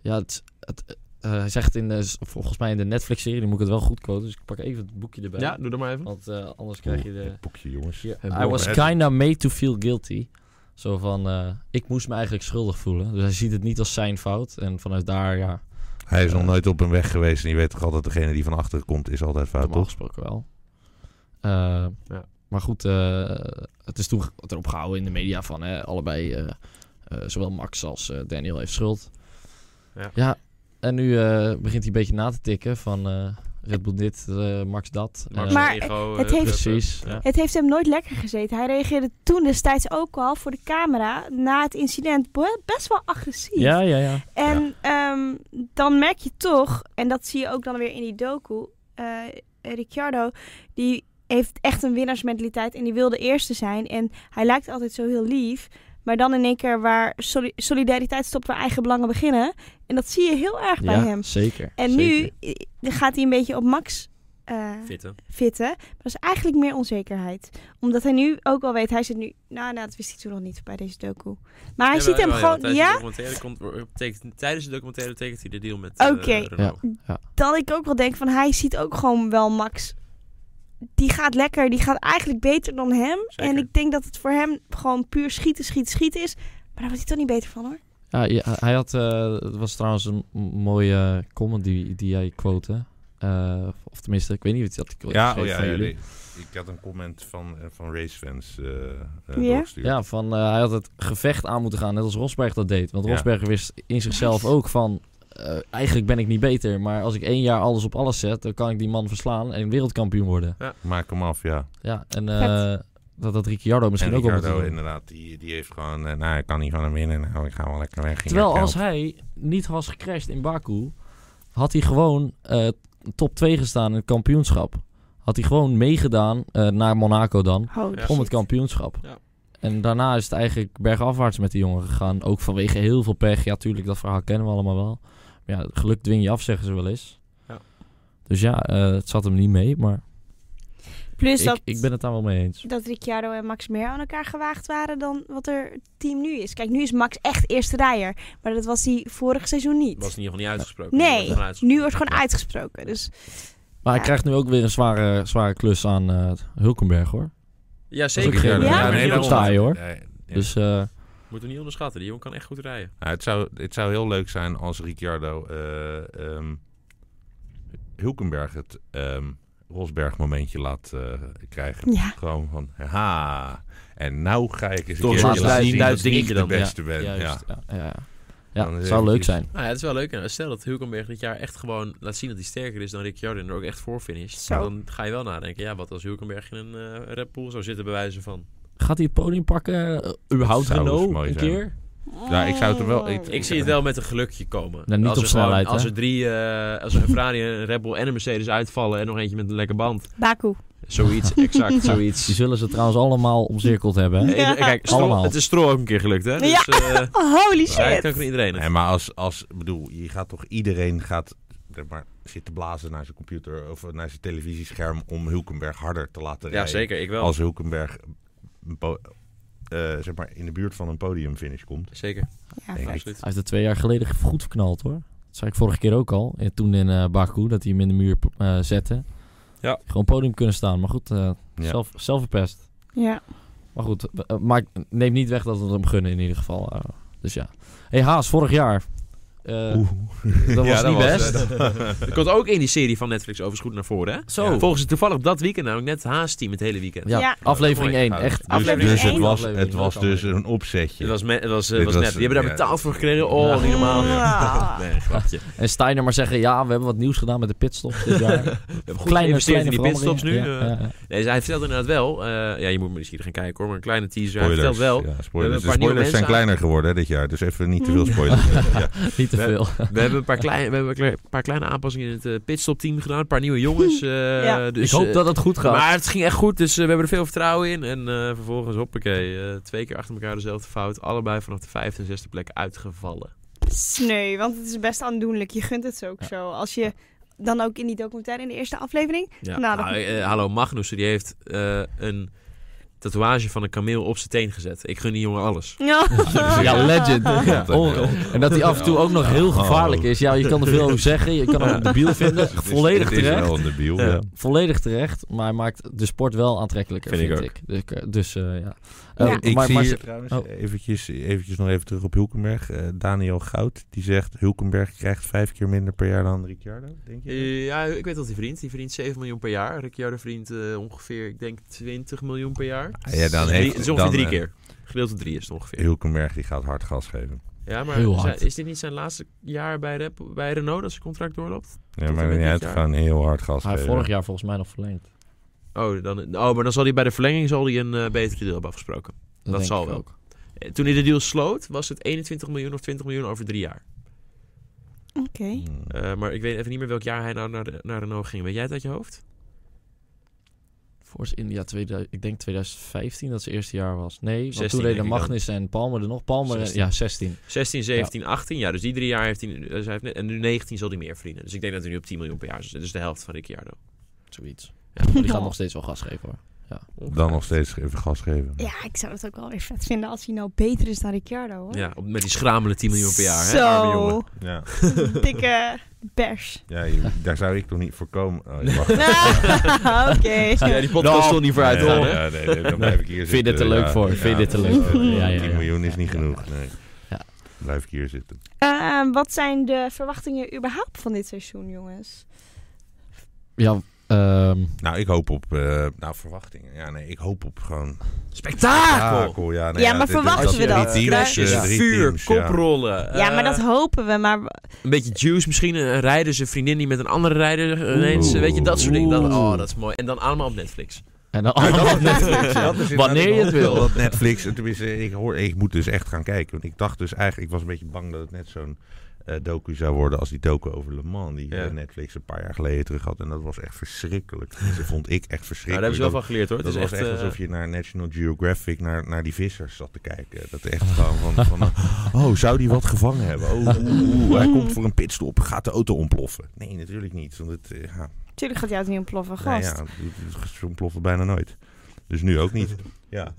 Ja, het, het, eh, hij zegt in de, volgens mij in de Netflix-serie, moet ik het wel goed quoten, dus ik pak even het boekje erbij.
Ja, doe dat maar even.
Want eh, anders krijg je de...
Het boekje, jongens.
I was kinda made to feel guilty. Zo van, eh, ik moest me eigenlijk schuldig voelen. Dus hij ziet het niet als zijn fout. En vanuit daar, ja,
Hij is nog nooit op een weg geweest en je weet toch altijd, degene die van achteren komt is altijd fout,
normaal
toch?
gesproken wel. Eh,
Ja.
Maar goed, eh, het is toen ge- erop gehouden in de media van hè, allebei, eh, eh, zowel Max als eh, Daniel heeft schuld.
Ja.
en nu eh, begint hij een beetje na te tikken van eh, Red Bull dit, eh, Max dat.
Max
Eh,
Maar
ego,
het
eh,
heeft-
precies.
Ja.
Het heeft hem nooit lekker gezeten. Hij reageerde toen destijds ook al voor de camera na het incident be- best wel agressief.
Ja, ja, ja.
En ehm, dan merk je toch, en dat zie je ook dan weer in die docu, eh, Ricciardo, die heeft echt een winnaarsmentaliteit en die wil de eerste zijn. En hij lijkt altijd zo heel lief, maar dan in één keer waar soli- solidariteit stopt, waar eigen belangen beginnen. En dat zie je heel erg bij
ja,
hem.
zeker.
En
zeker.
nu eh, gaat hij een beetje op Max eh,
Fitten.
fitten. Maar dat is eigenlijk meer onzekerheid. Omdat hij nu ook al weet, hij zit nu... Nou, nou dat wist hij toen nog niet bij deze docu. Maar hij ziet hem gewoon... Ja,
eh, tijdens de documentaire tekent hij de deal met
eh, Oké.
Renault.
dat ik ook wel denk van hij ziet ook gewoon wel Max. Die gaat lekker, die gaat eigenlijk beter dan hem.
Zeker.
En ik denk dat het voor hem gewoon puur schieten, schieten, schieten is. Maar daar wordt hij toch niet beter van hoor.
Ja, ja, hij had, eh, het was trouwens een m- mooie comment die, die jij quote. Eh, of tenminste, ik weet niet of het dat ik
Ja,
geschreven
oh ja,
van
ja,
jullie.
nee. ik had een comment van, eh, van racefans eh eh,
Ja?
doorgestuurd.
Ja, van eh, hij had het gevecht aan moeten gaan, net als Rosberg dat deed. Want
Ja.
Rosberg wist in zichzelf
Nice.
ook van, eh, eigenlijk ben ik niet beter. Maar als ik één jaar alles op alles zet, dan kan ik die man verslaan en wereldkampioen worden.
Maak hem af, ja.
Ja, en eh, dat had Ricciardo misschien
en
ook al moeten
Ricciardo
doen.
inderdaad, die, die heeft gewoon... eh, nou, ik kan niet van hem winnen. Nou, ik ga wel lekker weg. Ik
Terwijl
heb
als
geld.
hij niet was gecrashed in Baku, had hij gewoon eh, top 2 gestaan in het kampioenschap. Had hij gewoon meegedaan eh, naar Monaco dan,
Oh,
Ja.
om het kampioenschap.
Ja.
En daarna is het eigenlijk bergafwaarts met die jongen gegaan. Ook vanwege heel veel pech. Ja, tuurlijk, dat verhaal kennen we allemaal wel. Maar ja, geluk dwing je af, zeggen ze wel eens.
Ja.
Dus ja, eh, het zat hem niet mee, maar
Plus dat,
ik, ik ben het daar wel mee eens.
dat Ricciardo en Max meer aan elkaar gewaagd waren dan wat er het team nu is. Kijk, nu is Max echt eerste rijder. Maar dat was hij vorig seizoen niet.
was in ieder geval niet uitgesproken.
Nee,
Die wordt gewoon uitgesproken.
nu wordt gewoon uitgesproken. Dus
Maar hij
Ja.
krijgt nu ook weer een zware, zware klus aan eh Hulkenberg, hoor.
Ja,
ook
zeker.
geen-
Ja,
Ja,
maar
nee,
die jongen-
dat sta je, hoor.
Nee, ja.
Dus eh,
Moeten we niet onderschatten. Die jongen kan echt goed rijden.
Nou, het, zou, het zou heel leuk zijn als Ricciardo eh, ehm, Hulkenberg het ehm, Rosberg momentje laat eh, krijgen.
ja,
Gewoon van, ha. En nou ga ik eens
Toch
een keer
laat
laten
duizend-
zien
duizend
dat
nou dingetje
ik
dan.
de beste ben. Ja.
Juist, ja. ja, ja.
Dan
Ja,
is
het
even
zou leuk
iets-
zijn.
Nou ja, het is wel leuk. En stel dat Hulkenberg dit jaar echt gewoon laat zien dat hij sterker is dan Ricciardo en er ook echt voor finisht.
Zo.
Dan ga je wel nadenken. Ja, wat als Hulkenberg in een eh, Red Bull zou zitten bij wijze van.
Gaat hij het podium pakken? Uh, überhaupt
Zou eens
Renault
mooi
een
zijn.
keer?
Ja, ik zou het hem wel- ik-
Ik zie het wel met een gelukje komen.
Nou, niet
als
op
er gewoon-
snelheid, hè?
Als er drie, eh, als er een Ferrari, een Red Bull en een Mercedes uitvallen en nog eentje met een lekker band.
Baku.
Zoiets, exact,
Die
zoiets.
zullen ze trouwens allemaal omcirkeld hebben. hè?
Eh, eh, Kijk, Stroll-
Allemaal.
het is Stroll ook een keer gelukt, hè? Dus, eh,
Oh, holy
ja, ik
shit.
kan van iedereen.
Nee, maar als, als, ik bedoel, je gaat toch iedereen gaat, zeg maar, zit te blazen naar zijn computer of naar zijn televisiescherm om Hulkenberg harder te laten
Ja,
rijden.
zeker. Ik wel.
Als Hulkenberg een po- eh, zeg maar, in de buurt van een podiumfinish komt.
Zeker.
Ja,
Denk ik.
Absoluut.
Hij heeft het twee jaar geleden goed verknald hoor. Dat zei ik vorige keer ook al. eh, Toen in eh Baku, dat hij hem in de muur eh, zette.
Ja.
Gewoon podium kunnen staan. Maar goed, eh,
Ja.
zelf, zelf verpest.
ja.
Maar goed, eh, maak, neem niet weg dat we het hem gunnen in ieder geval. eh. dus ja. hey, Haas, vorig jaar. Eh, dat was
Ja,
niet
was,
best.
eh, dat-
Dat komt ook in die serie van Netflix overigens goed naar voren, hè?
Zo.
Volgens toevallig dat weekend namelijk net het Haas-team het hele weekend.
ja,
Ja.
aflevering
Mooi.
1. Echt.
dus,
Aflevering
dus het
één.
was,
Aflevering
het was
één.
dus een opzetje.
Het was, me- het was, eh,
Dit
was
was,
net. Die hebben daar
ja.
betaald voor gekregen. Oh,
Ja.
niet normaal.
Ja.
Nee, grapje.
En Steiner maar zeggen, ja, we hebben wat nieuws gedaan met de pitstops dit jaar.
We hebben goed geïnvesteerd in die pitstops nu.
veranderingen.
eh.
Ja, ja, ja.
Nee, hij vertelt inderdaad wel... eh, ja, je moet maar misschien gaan kijken hoor, maar een kleine teaser. hij
Spoilers,
vertelt wel...
ja,
We hebben een
spoilers. De
paar nieuwe
spoilers zijn
mensen
kleiner geworden hè, dit jaar, dus even niet te veel spoilers. ja.
Niet te
We-
veel.
We hebben een paar, klein, we hebben een kle- paar kleine aanpassingen in het eh, pitstopteam gedaan. Een paar nieuwe jongens. eh,
Ja.
dus,
ik hoop
eh,
dat het goed gaat.
Maar het ging echt goed, dus eh, we hebben er veel vertrouwen in. En eh, vervolgens, hoppakee, eh, twee keer achter elkaar dezelfde fout. Allebei vanaf de vijfde en zesde plek uitgevallen.
Sneu, want het is best aandoenlijk. Je gunt het ze ook zo. Als je dan ook in die documentaire in de eerste aflevering.
Ja.
Nou, dat-
Nou, eh, eh, hallo, Magnussen, die heeft eh, een tatoeage van een kameel op zijn teen gezet. Ik gun die jongen alles.
Ja,
Ja, legend.
Ja.
Oh, en dat hij af en toe ook nog heel
Oh.
gevaarlijk is. Ja, je kan er veel over zeggen. Je kan hem debiel vinden.
Het is-
Volledig
Het is
terecht.
wel een debiel,
Ja.
ja.
Volledig terecht. Maar hij maakt de sport wel aantrekkelijker,
Vind ik
vind, ik. Dus, eh, Dus, eh, ja. Eh,
Ja.
Ik
maar-
zie
maar
hier
ze-
trouwens
oh.
eventjes, eventjes nog even terug op Hulkenberg. Eh, Daniel Goud, die zegt Hulkenberg krijgt vijf keer minder per jaar dan Ricciardo, denk je?
Eh, ja, ik weet dat die verdient. Die verdient 7 miljoen per jaar. Ricciardo verdient eh, ongeveer, ik denk, 20 miljoen per jaar.
ja, dan
Dus drie-
heeft,
het is ongeveer
dan,
drie
eh,
keer. Gedeeld door drie is het
Eh,
ongeveer.
Hulkenberg die gaat hard gas geven.
Ja, maar
Heel
zijn-
hard.
is dit niet zijn laatste jaar bij, Rep- bij Renault dat zijn contract doorloopt?
Ja,
en
maar
met
niet
dit
uit
jaar.
gaan heel hard gas
hij heeft
geven.
Ah, vorig jaar volgens mij nog verlengd. Dat,
Oh, dan, oh, maar dan zal hij bij de verlenging zal hij een eh, betere deal hebben afgesproken.
denk
zal
ik
wel. Eh, Toen hij de deal sloot, was het 21 miljoen of 20 miljoen over drie jaar.
Oké.
Hmm.
Eh, maar ik weet even niet meer welk jaar hij nou naar, de- naar Renault ging. Weet jij het uit je hoofd?
Force India, 2000, ik denk 2015 dat zijn eerste jaar was. Nee, want
16
toen deden
denk ik
Magnus en Palmer er nog. Palmer, en-
16.
ja, 16.
16, 17, 18. Ja, dus die drie jaar heeft hij... Dus hij heeft net, en nu 19 zal hij meer verdienen. Dus ik denk dat hij nu op 10 miljoen per jaar zit. Dus de helft van Ricciardo.
Zoiets.
Ja.
Maar die gaat nog steeds wel gas geven hoor.
Dan nog steeds even gas geven.
Ja, ik zou dat ook wel weer vet vinden als hij nou beter is dan Ricciardo. Hoor.
Ja, op- met die schamele 10 miljoen per jaar. Hè, arme jongen.
Zo,
Ja,
dikke bers.
ja je- daar zou ik toch niet voor komen. Oh, wacht.
Ah, Oké.
Ja, die podcast stond niet vooruit.
Nee,
hoor.
ja, nee, nee, dan blijf ik hier
Vind
zitten.
dit te leuk voor, vind dit te leuk voor. Ja, ja,
10
ja.
miljoen is niet genoeg. Nee.
Ja.
Blijf ik hier zitten.
Ehm, wat zijn de verwachtingen überhaupt van dit seizoen, jongens?
Ja, ehm,
Nou, ik hoop op... eh, nou, verwachtingen. Ja, nee, ik hoop op gewoon...
Spektakel!
Takel, ja, nee,
Ja, maar
dit- dit-
verwachten
dat
we dat?
Drie teams,
Crashes,
eh, drie
vuur,
teams, ja.
koprollen.
ja,
eh,
maar dat hopen we. Maar
Een beetje juice misschien. Een rijder, zijn vriendin die met een andere rijder eh, ineens.
Oeh.
Weet je, dat soort dingen. Dat, oh,
Oeh.
dat is mooi. En dan allemaal op Netflix. Nou,
en dan
Ja, dat
allemaal
is Netflix, ja, dat is Ehm, inderdaad
Wanneer je het
wel.
wil.
Dat Netflix, tenminste, ik, hoor, ik moet dus echt gaan kijken. Want ik dacht dus eigenlijk, ik was een beetje bang dat het net zo'n eh, docu zou worden als die docu over Le Mans. Die
Ja.
eh, Netflix een paar jaar geleden terug had. En dat was echt verschrikkelijk. Dat vond ik echt
Nou, daar
verschrikkelijk.
hebben ze wel van geleerd hoor.
Dat
Het is
was
echt,
echt,
eh,
alsof je naar National Geographic, naar, naar die vissers zat te kijken. Dat echt gewoon van, van oh, zou die wat gevangen hebben? Oh, oeh, oeh, hij komt voor een pitstop, gaat de auto ontploffen? Nee, natuurlijk niet. Want het, eh, ja,
natuurlijk gaat jou het niet ontploffen, gast.
nou ja, het- het ontploft bijna nooit. Dus nu ook niet. Ja.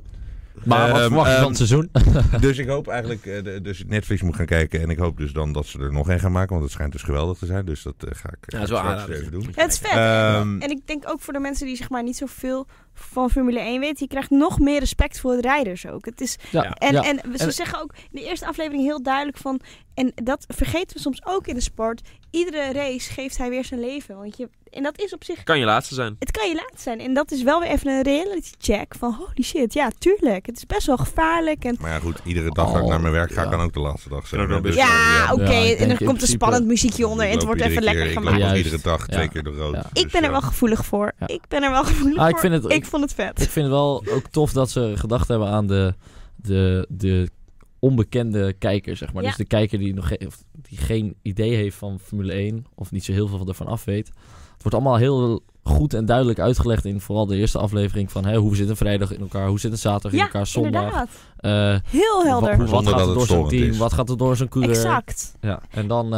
Maar wat
Ehm,
verwacht je van
ehm,
het seizoen?
Dus ik hoop eigenlijk, eh, de- dus Netflix moet gaan kijken en ik hoop dus dan dat ze er nog een gaan maken, want het schijnt dus geweldig te zijn. Dus dat eh, ga ik,
ja,
eh,
dat is wel
straks
aanraden.
even doen.
Ja, het is vet.
Ehm,
En ik denk ook voor de mensen die zeg maar niet zoveel van Formule 1 weten, je krijgt nog meer respect voor de rijders ook. Het is,
Ja.
en,
ja.
en ze
En-
zeggen ook in de eerste aflevering heel duidelijk van, en dat vergeten we soms ook in de sport, iedere race geeft hij weer zijn leven. Want je, en dat is op zich,
Kan je laatste zijn.
het kan je laat zijn. En dat is wel weer even een reality check van holy shit, ja tuurlijk, het is best wel gevaarlijk. En,
maar ja, goed, iedere dag dat ik
Oh,
naar mijn werk ga,
ja.
kan ook de laatste dag zijn.
Kan ook nog
hè, dus,
best wel,
eh,
ja,
ja.
oké,
Ja, ik
en
denk
er
in
komt een
principe-
spannend muziekje onder en
Ik
het
loop
wordt
iedere
even lekker
keer-
gemaakt.
Ik loop ook
Juist.
iedere dag twee
Ja.
keer door rood. Dus, eh,
dus Ja.
Ik ben er wel gevoelig voor.
Ja.
Ik ben er wel gevoelig
Ah, ik
voor.
vind het-
ik
ik-
vond het vet.
Ik vind het wel ook tof dat ze gedacht hebben aan de, de, de onbekende kijker, zeg maar.
Ja.
Dus de kijker die, nog ge- of die geen idee heeft van Formule 1 of niet zo heel veel ervan af weet. Het wordt allemaal heel goed en duidelijk uitgelegd in vooral de eerste aflevering van hè, hoe zit een vrijdag in elkaar, hoe zit een zaterdag in
Ja,
elkaar, zondag.
inderdaad.
eh,
Heel
Wa- Hoe,
helder.
wat
Zonder
gaat
dat
er
het
door zo'n
storend
team?
is.
Wat gaat er door zo'n coureur?
Exact.
Ja, en dan, eh,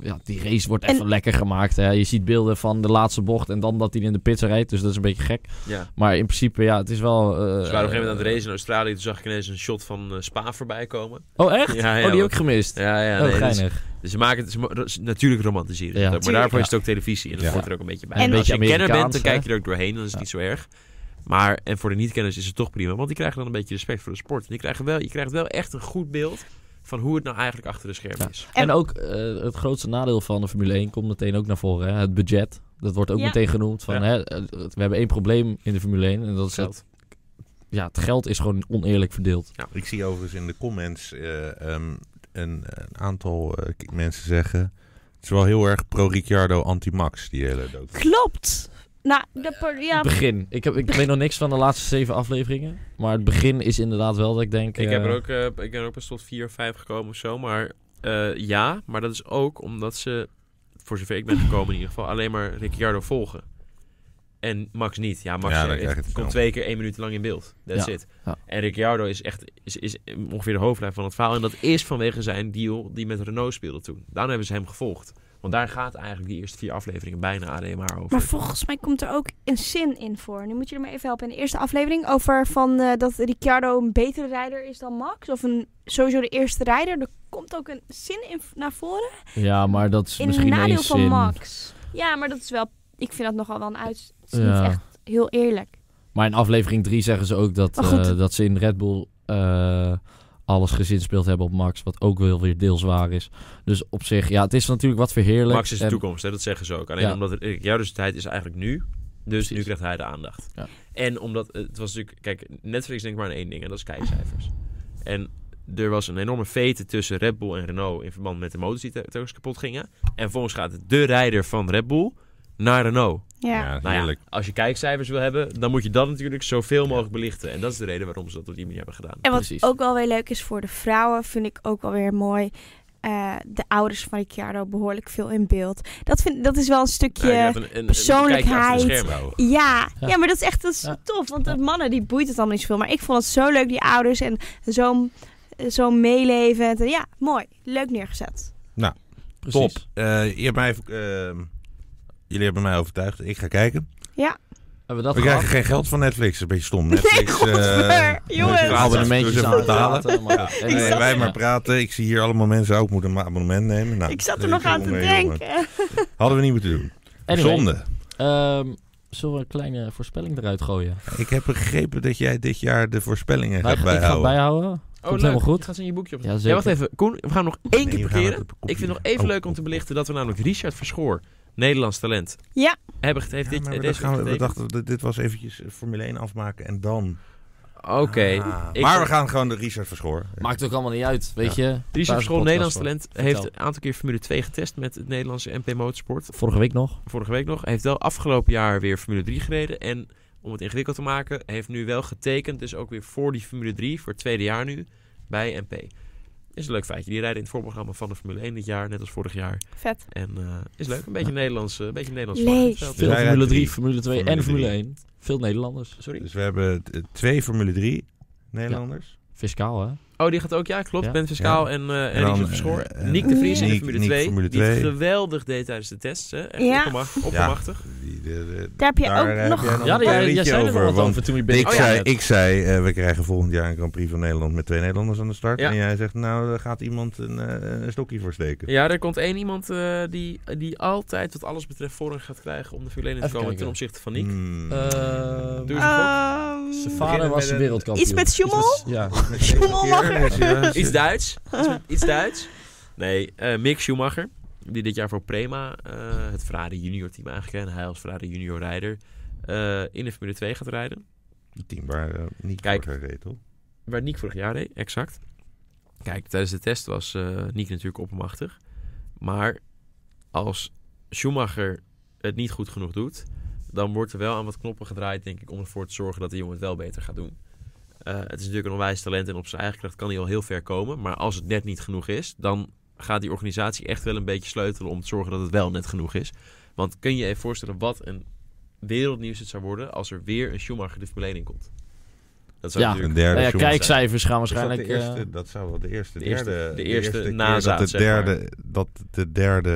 ja, die race wordt even
En-
lekker gemaakt. Hè. Je ziet beelden van de laatste bocht en dan dat hij in de pits rijdt. Dus dat is een beetje gek.
Ja.
Maar in principe, ja, het is wel... eh,
Ze waren op een gegeven moment aan het racen in Australië. Toen zag ik ineens een shot van eh, Spa voorbij komen.
Oh, echt?
Ja, ja,
oh, die heb
want-
ik gemist.
Ja, ja.
oh,
nee, dus,
geinig.
dus ze maken het, ze, ma- ze- natuurlijk romantiseren. ze
Ja.
het ook, maar daarvoor
Tuurlijk,
is het ook televisie. En dat
Ja.
hoort er ook een beetje bij.
En-
En als je een
Beetje
kenner bent, dan
Amerikaans,
kijk je er ook doorheen. Dan is het niet zo erg. Maar, en voor de niet-kenners is het toch prima. Want die krijgen dan een beetje respect voor de sport. En die krijgen wel, je krijgt wel echt een goed beeld van hoe het nou eigenlijk achter de schermen
Ja.
is.
En,
En-
ook eh, het grootste nadeel van de Formule 1 komt meteen ook naar voren. Hè. Het budget. Dat wordt ook
Ja.
meteen genoemd. Van,
Ja.
hè, eh, we hebben één probleem in de Formule 1. En dat is het,
Geld.
ja, het geld is gewoon oneerlijk verdeeld.
Ik zie overigens in de comments eh, ehm, een, een aantal eh, k- mensen zeggen... Het is wel heel erg pro-Ricciardo, anti-Max, die hele dood.
Klopt. Nou, de, per- ja,
Het begin. Ik, heb, ik weet nog niks van de laatste zeven afleveringen. Maar het begin is inderdaad wel dat ik denk...
Ik,
eh,
heb er ook, eh, ik ben er ook pas tot 4 of 5 gekomen of zo. Maar eh, ja, maar dat is ook omdat ze, voor zover ik ben gekomen in ieder geval, alleen maar Ricciardo volgen. En Max niet. Ja, Max
Ja, dan
eh,
krijg je het
komt
wel.
twee keer één minuut lang in beeld. That's
Ja,
it.
ja.
En Ricciardo is echt is, is ongeveer de hoofdlijn van het verhaal. En dat is vanwege zijn deal die met Renault speelde toen. Daarom hebben ze hem gevolgd. Want daar gaat eigenlijk die eerste vier afleveringen bijna alleen maar over.
maar volgens mij komt er ook een zin in voor. Nu moet je er maar even helpen in de eerste aflevering. Over van eh, dat Ricciardo een betere rijder is dan Max. Of een, sowieso de eerste rijder. Er komt ook een zin in naar voren.
Ja, maar dat is
In het
misschien één
nadeel van
zin.
Max. Ja, maar dat is wel... Ik vind dat nogal wel een uit... Het is
Ja.
niet echt heel eerlijk.
Maar in aflevering 3 zeggen ze ook dat,
Maar goed.
eh, dat ze in Red Bull eh, alles gezinspeeld hebben op Max. Wat ook wel weer deels waar is. Dus op zich, ja, het is natuurlijk wat verheerlijk.
Max is de
En-
toekomst, hè? dat zeggen ze ook. Alleen
Ja.
omdat eh, jouw dus tijd is eigenlijk nu. Dus
Precies.
nu krijgt hij de aandacht.
Ja.
En omdat eh, het was natuurlijk, kijk, Netflix denkt maar aan één ding en dat is kijkcijfers. En er was een enorme vete tussen Red Bull en Renault in verband met de motors die te- telkens kapot gingen. En volgens gaat de rijder van Red Bull naar Renault.
Ja.
Nou ja,
heerlijk.
als je kijkcijfers wil hebben, dan moet je dat natuurlijk zoveel mogelijk belichten. En dat is de reden waarom ze dat op die manier hebben gedaan.
En wat
Precies.
ook wel weer leuk is voor de vrouwen, vind ik ook wel weer mooi. eh, de ouders van Ricciardo behoorlijk veel in beeld. Dat, vind, dat is wel een stukje.
Nou, je
Ja,
hebt een- een- een kijkje
persoonlijkheid.
achter de schermen.
Vrouwen.
ja,
Ja.
maar dat is echt dat is
Ja.
tof. Want
Ja.
de mannen die boeit het allemaal niet zoveel. Maar ik vond het zo leuk, die ouders en zo'n zo meeleven. En, Ja, mooi. Leuk neergezet.
Precies.
Top. Eh, je hebt mij even, ehm, jullie hebben mij overtuigd. Ik ga kijken.
Hebben we dat
We krijgen
gehad?
geen geld van Netflix. Dat is een beetje stom. Netflix, eh,
godver,
moet je
jongens.
gratis
Abonnementjes
even
aan het
betalen.
praten, maar- en-
Ik
Nee,
zat
wij
er-
maar praten. Ik zie hier allemaal mensen ook moeten een abonnement nemen. Nou,
ik zat er
eh,
nog aan te
jongen, jongen.
denken.
Hadden we niet moeten doen.
Anyway,
Zonde.
ehm, zullen we een kleine voorspelling eruit gooien?
Ik heb begrepen dat jij dit jaar de voorspellingen
Wij-
gaat
ik ga het
bijhouden.
bijhouden.
Oh,
Komt
leuk.
helemaal goed.
Je gaat ze in je boekje op.
Ja,
Ja,
zeker.
wacht even. Koen, we gaan nog één
Nee,
keer
we gaan
parkeren.
het op de
Ik vind het nog
computer.
even
Oh,
leuk om te belichten dat we namelijk Richard Verschoor, Nederlands talent,
Ja.
hebben get- heeft
Ja,
dit,
maar we,
deze
dachten, we
week getekend.
dachten, dat dit was eventjes eh, Formule 1 afmaken en dan...
Oké.
Ah,
Ik-
maar we gaan gewoon de Richard Verschoor.
Maakt ook allemaal niet uit, weet je.
Richard Verschoor,
School
Nederlands talent, heeft
Vertel.
een aantal keer Formule 2 getest met het Nederlandse MP Motorsport.
Vorige week nog.
Vorige week nog. Hij heeft wel afgelopen jaar weer Formule 3 gereden. En om het ingewikkeld te maken, heeft nu wel getekend, dus ook weer voor die Formule 3, voor het tweede jaar nu, bij MP. Is een leuk feitje. Die rijden in het voorprogramma van de Formule 1 dit jaar, net als vorig jaar.
Vet.
En eh, is leuk. Een beetje Nederlands. eh, een beetje Nederlands
Lees.
vlag in het veld.
Veel
Wij
Formule
rijden
3,
drie.
Formule 2 en
Formule
Formule
drie.
1. Veel Nederlanders.
Sorry.
Dus we hebben eh, twee Formule 3 Nederlanders.
Fiscaal, hè?
Oh, die gaat ook. Ja, klopt.
Ja.
Ben Fiscaal en, eh en,
En dan,
Richard Verschoor.
eh, eh,
Nick de Vries in de
Niek-
Formule
Niek
2.
Formule
die het
2.
geweldig deed tijdens de tests. Hè? Echt
Ja.
opperma- oppermachtig.
Die- de- de-
Daar heb je
daar eh,
ook
heb
nog-
jij nog
Ja,
een
die-
klein
jij
liedje over. want
toen je
ik,
Oh, ja.
zei, ik zei eh, we krijgen volgend jaar een Grand Prix van Nederland met twee Nederlanders aan de start.
Ja.
En jij zegt, nou, daar gaat iemand een, eh, een stokje voor steken.
Ja, er komt één iemand eh, die, die altijd wat alles betreft voorrang gaat krijgen om de Formule 1 in te
Even
komen
kijken.
ten opzichte van Nick.
Hmm.
Ehm,
Doe eens een gok.
Ehm,
Zijn
Beginnen
vader was
met
de
een-
wereldkampioen.
Iets met Schumacher?
Iets met- Ja.
Met zeven
Schommelmacher.
keer, dus ja,
Iets Duits. Iets, met- iets Duits. Nee, eh, Mick Schumacher. Die dit jaar voor Prema eh, het Ferrari junior team aangekregen. En hij als Ferrari junior rijder eh, in de Formule 2 gaat rijden.
Het team waar eh, niet
Kijk.
voor reed, toch?
Waar Niek vorig jaar deed, exact. Kijk, tijdens de test was eh Niek natuurlijk oppermachtig. Maar als Schumacher het niet goed genoeg doet... dan wordt er wel aan wat knoppen gedraaid, denk ik... om ervoor te zorgen dat de jongen het wel beter gaat doen. Eh, Eh, het is natuurlijk een onwijs talent en op zijn eigen kracht kan hij al heel ver komen. Maar als het net niet genoeg is, dan gaat die organisatie echt wel een beetje sleutelen om te zorgen dat het wel net genoeg is. Want kun je je even voorstellen wat een wereldnieuws het zou worden als er weer een Schumacher de Formule 1 in komt? Dat zou
Ja.
natuurlijk
Een derde
Nou ja,
Schumacher.
kijkcijfers gaan
Is dat,
waarschijnlijk...
de eerste,
eh,
dat zou wel de eerste,
de eerste-
derde,
de eerste
keer
nazaat,
dat de
zeg maar.
derde, dat de derde,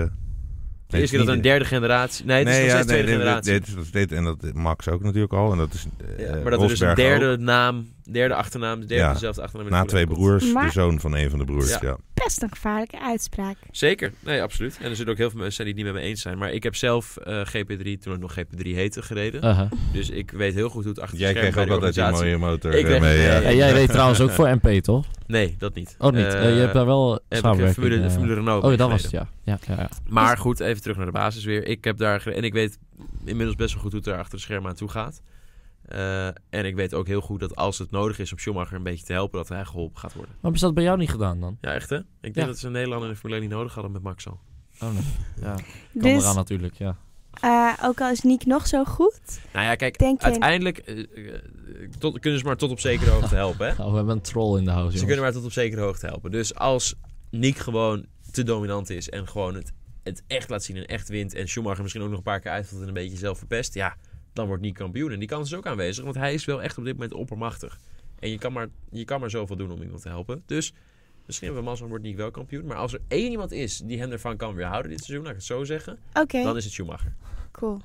de eerste keer dat er een derde generatie... Nee, het is nog steeds tweede
dit- dit-
generatie.
Dit, is- dit, en dat Max ook natuurlijk al. En dat is, eh,
Ja, maar dat er dus een
Rosberg
derde
ook.
naam, derde achternaam, derde
Ja,
dezelfde achternaam. in de
na
Formule
twee
1 komt.
broers, de
Maar-
zoon van een van de broers.
Ja.
Ja.
Best een gevaarlijke uitspraak.
Zeker, nee, absoluut. En er zullen ook heel veel mensen zijn die het niet met me eens zijn. Maar ik heb zelf eh, GP3, toen het nog GP3 heette, gereden.
aha.
Dus ik weet heel goed hoe het achter de
Jij
schermen
kreeg ook
bij de
altijd die
organisatie...
mooie motor
Ik
eh,
kreeg-
mee.
nee,
ja.
nee,
En jij reed trouwens ook voor MP, toch?
Nee, dat niet.
Oh, niet.
Eh,
Eh, je hebt daar wel
heb ik eh,
samenwerking.
Formule,
eh.
Formule Renault
Oh, ja,
mee
dat was het,
gereden.
ja. ja, ja, ja.
Maar goed, even terug naar de basis weer. Ik heb daar... gere- En ik weet inmiddels best wel goed hoe het daar achter de schermen aan toe gaat. Eh, en ik weet ook heel goed dat als het nodig is om Schumacher een beetje te helpen, dat hij geholpen gaat worden.
Waarom is dat bij jou niet gedaan dan?
Ja, echt hè? Ik denk
Ja.
dat ze Nederland in de Formule 1 niet nodig hadden met Max al.
Oh, nee. Ja, kan
Dus
eraan natuurlijk, ja.
eh, ook al is Nick nog zo goed,
Nou ja, kijk,
Denk je-
uiteindelijk eh, eh, tot, kunnen ze maar tot op zekere hoogte helpen. Hè?
Oh, we hebben een troll in de house,
Ze
jongens.
kunnen maar tot op zekere hoogte helpen. Dus als Nick gewoon te dominant is en gewoon het, het echt laat zien en echt wint... en Schumacher misschien ook nog een paar keer uitvalt en een beetje zelf verpest... ja, dan wordt Nick kampioen. En die kans is ook aanwezig, want hij is wel echt op dit moment oppermachtig. En je kan maar, je kan maar zoveel doen om iemand te helpen. Dus misschien hebben we mazzel en wordt Nick wel kampioen. Maar als er één iemand is die hem ervan kan weerhouden dit seizoen... laat ik het zo zeggen,
oké,
dan is het Schumacher.
cool.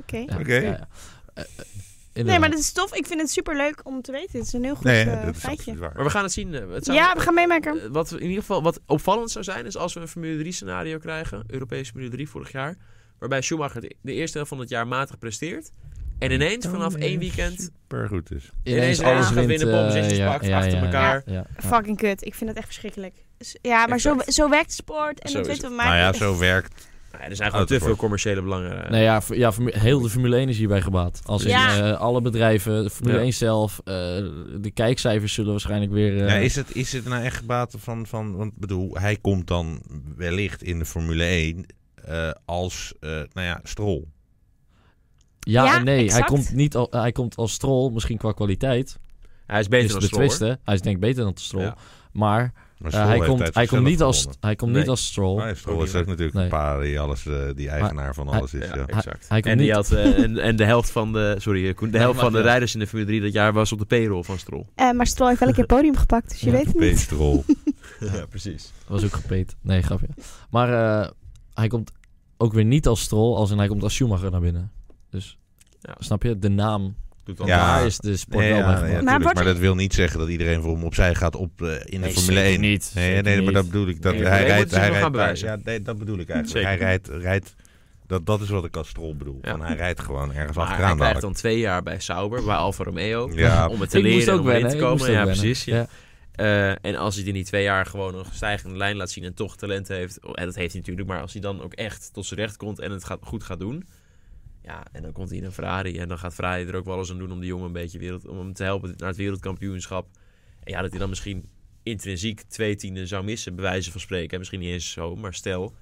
Oké.
Ja,
Oké.
ja, ja. Eh, eh,
Nee,
inderdaad.
maar dat is tof. Ik vind het super leuk om te weten. Het is een heel goed
Nee,
eh,
dat is
feitje.
absoluut waar.
Maar we gaan het zien. eh, Het zou-
Ja, we gaan meemaken.
Eh, wat we in ieder geval wat opvallend zou zijn, is als we een Formule 3 scenario krijgen, Europese Formule 3 vorig jaar, waarbij Schumacher de, de eerste helft van het jaar matig presteert. En ineens
Dan
vanaf
weer
één weekend
Supergoed is.
ineens alles gaat
wint,
winnen, bomzetjes
eh, ja,
pakt,
ja,
achter
ja,
elkaar.
Ja, ja.
Fucking kut. Ik vind dat echt verschrikkelijk. S- Ja, maar zo,
Exact.
zo werkt sport en
Zo
dat
is
weten we maar.
Nou ja, zo werkt.
nou ja, er zijn gewoon
Oh,
te
dat
veel
wordt-
commerciële belangen. eh.
Nee, ja, voor- ja voor- heel de Formule 1 is hierbij gebaat. Als in
Ja.
eh, alle bedrijven, Formule
Ja.
1 zelf, eh, de kijkcijfers zullen waarschijnlijk weer... eh,
Ja, is, het, is het nou echt baten van, van... Want ik bedoel, hij komt dan wellicht in de Formule 1 eh, als, eh, nou ja, strol.
ja,
Ja,
en nee.
exact.
Hij komt, niet al, hij komt als strol, misschien qua kwaliteit.
Hij is beter
is
dan
de
Stroll.
twist,
hoor.
hè. Hij is denk ik beter dan de strol.
Ja.
Maar
Maar
eh,
Stroll
hij,
heeft
komt,
uit
hij, komt
zichzelf
niet als,
gewonnen.
hij komt
Nee.
niet als strol.
Nee,
Ook
Stroll
niet
is
waar.
ook natuurlijk
Nee.
een paar die, alles, eh, die eigenaar van alles is.
Ja,
Ja.
exact.
hij komt
en, die
niet-
had, eh, en, en de helft van de, sorry, eh, Koen, de
Nee,
helft
mag
van de
niet.
rijders in de Formule 3 dat jaar was op de payroll van Stroll.
Eh, maar Stroll heeft wel een keer podium gepakt, dus je
Ja.
weet het niet.
P-Stroll.
ja, precies.
was ook gepeet. Nee, grapje. Maar eh, hij komt ook weer niet als strol, als in hij komt als Schumacher naar binnen. Dus,
Ja.
snap je? De naam.
Doet dan
Want
Ja.
ja.
daar is de sport
Nee,
wel
ja,
bij
ja,
gemaakt.
tuurlijk,
Maar
maar,
wordt-
dat wil niet zeggen dat iedereen voor hem opzij gaat op eh, in de
Nee,
Formule 1.
zeker niet.
Nee,
zeker
nee, maar dat
niet.
bedoel ik. Dat,
Nee,
hij
hij moet
rijdt,
zich
hij
nog gaan
rijdt, daar-
bewijzen.
ja, nee, dat bedoel ik eigenlijk.
Zeker.
Hij rijdt, rijdt dat, dat is wat ik als strol bedoel.
Ja.
Van, hij rijdt gewoon ergens
Maar hij
achteraan.
krijgt
dadelijk.
dan twee jaar bij Sauber, bij Alfa Romeo,
Ja,
om het te
Ik moest
leren en
ook
om erin
wennen.
te
ik moest
komen.
ook
Ja,
wennen.
precies. ja.
Ja.
Eh, en als hij in die twee jaar gewoon een stijgende lijn laat zien en toch talent heeft, oh, en dat heeft hij natuurlijk, maar als hij dan ook echt tot zijn recht komt en het gaat, goed gaat doen, ja, en dan komt hij in een Ferrari en dan gaat Ferrari er ook wel alles aan doen om die jongen een beetje wereld, om hem te helpen naar het wereldkampioenschap. En ja, dat hij dan misschien intrinsiek twee tienden zou missen, bij wijze van spreken. En Misschien niet eens zo, maar stel.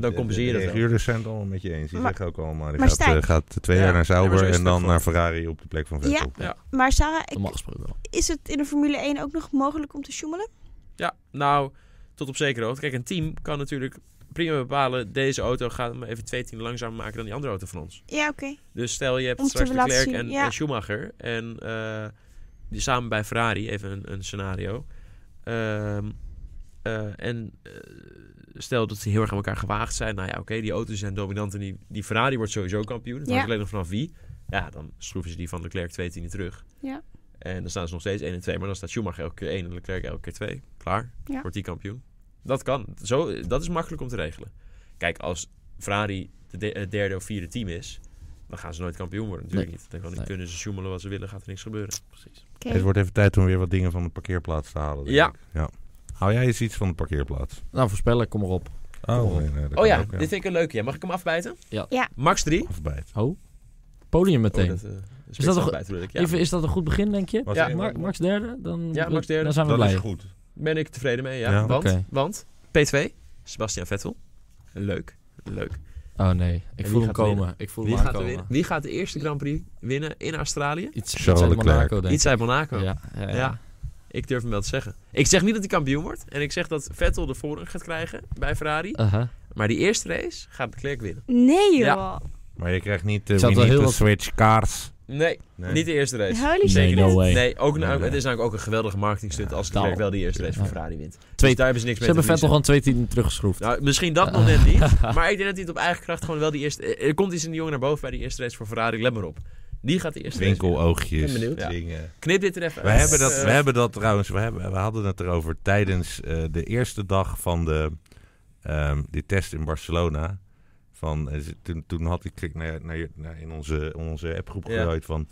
dan compenseren
De
ze.
reguurders zijn het allemaal met je eens. Die
Maar-
zeggen ook allemaal, die
maar
gaat,
Stijn-
eh, gaat twee
Ja,
jaar naar
nee, maar zo
Sauber
is
en
het ook
dan
voor.
naar Ferrari op de plek van Vettel.
Ja.
Maar Sarah, ik-
Normaal gesproken wel.
is het in de Formule 1 ook nog mogelijk om te sjoemelen?
Ja, nou, tot op zekere hoogte. Kijk, een team kan natuurlijk prima bepalen, deze auto gaat hem even twee tienden langzamer maken dan die andere auto van ons.
Ja, oké.
Dus stel je hebt
Om te
straks
laten
Leclerc
zien,
en,
ja.
en Schumacher en eh, die samen bij Ferrari, even een, een scenario. Ehm, eh, en eh, stel dat ze heel erg aan elkaar gewaagd zijn. Nou ja, oké, die auto's zijn dominant en die, die Ferrari wordt sowieso kampioen. Het
Ja.
hangt alleen nog vanaf wie. Ja, dan schroeven ze die van Leclerc twee tienden terug.
Ja.
En dan staan ze nog steeds 1 en 2, maar dan staat Schumacher elke keer 1 en Leclerc elke keer 2. Klaar,
Ja.
wordt die kampioen. Dat kan. Zo, dat is makkelijk om te regelen. Kijk, als Ferrari de de- het derde of vierde team is, dan gaan ze nooit kampioen worden. Natuurlijk
Nee.
niet. Dan kan-
Nee.
kunnen ze sjoemelen wat ze willen, gaat er niks gebeuren. Precies.
Oké.
Het wordt even tijd om weer wat dingen van de parkeerplaats te halen. denk
Ja.
ik. ja. Hou jij eens iets van de parkeerplaats?
Nou, voorspellen, kom maar op.
Oh, nee, nee, dat
Oh
kan
ja,
ook,
dit vind ik een leuke. Ja. Mag ik hem afbijten?
Ja.
Ja.
Max 3.
Afbijt.
Podium meteen.
is
dat
Oh, dat
nog-
afbijten, ja.
Even, is dat een goed begin, denk je?
Wat
Ja,
zeg je?
Mar- Max derde? Dan,
Ja, Max derde.
Dan zijn we
dat
blij.
is goed.
Ben ik tevreden mee, ja.
Ja.
Want,
Oké.
want P2, Sebastian Vettel. Leuk, leuk.
Oh nee, ik
wie
voel hem
gaat
komen.
winnen?
Ik voel
Wie
hem
gaat, er
aankomen.
winnen? Wie gaat de eerste Grand Prix winnen in Australië?
Iets, iets
Charles
uit
Leclerc.
Monaco, denk ik.
Iets uit Monaco.
Ja, ja, ja.
Ja. Ik durf hem wel te zeggen. Ik zeg niet dat hij kampioen wordt. En ik zeg dat Vettel de voorrang gaat krijgen bij Ferrari.
Aha.
Maar die eerste race gaat Leclerc winnen.
Nee joh.
Maar je krijgt niet de
Ik zat wel heel wat-
switch cars.
Nee, niet de eerste race.
Holy
Nee,
shit.
no way.
Nee, ook,
Nee,
nou,
nee.
het is namelijk ook een geweldige marketingstunt als
daarom.
Leclerc wel die eerste race voor Ferrari wint.
Twee-
Dus daar hebben ze niks
Ze
mee
hebben
te verliezen.
Vettel gewoon twee tienden teruggeschroefd.
Nou, misschien dat nog net niet. Maar ik denk dat hij het op eigen kracht gewoon wel die eerste... eh, Er komt iets in de jongen naar boven bij die eerste race voor Ferrari. Let maar op. Die gaat de eerste race winnen.
Winkeloogjes.
Ik ben benieuwd. Ja.
Dingen.
Knip dit er even
We
uit.
hebben dat,
Eh,
we hebben dat trouwens, we, hebben, we hadden het erover tijdens eh, de eerste dag van de, ehm, die test in Barcelona. Van, eh, ze- toen, toen had ik ik naar, naar, naar in onze, onze appgroep
Ja.
gegooid van...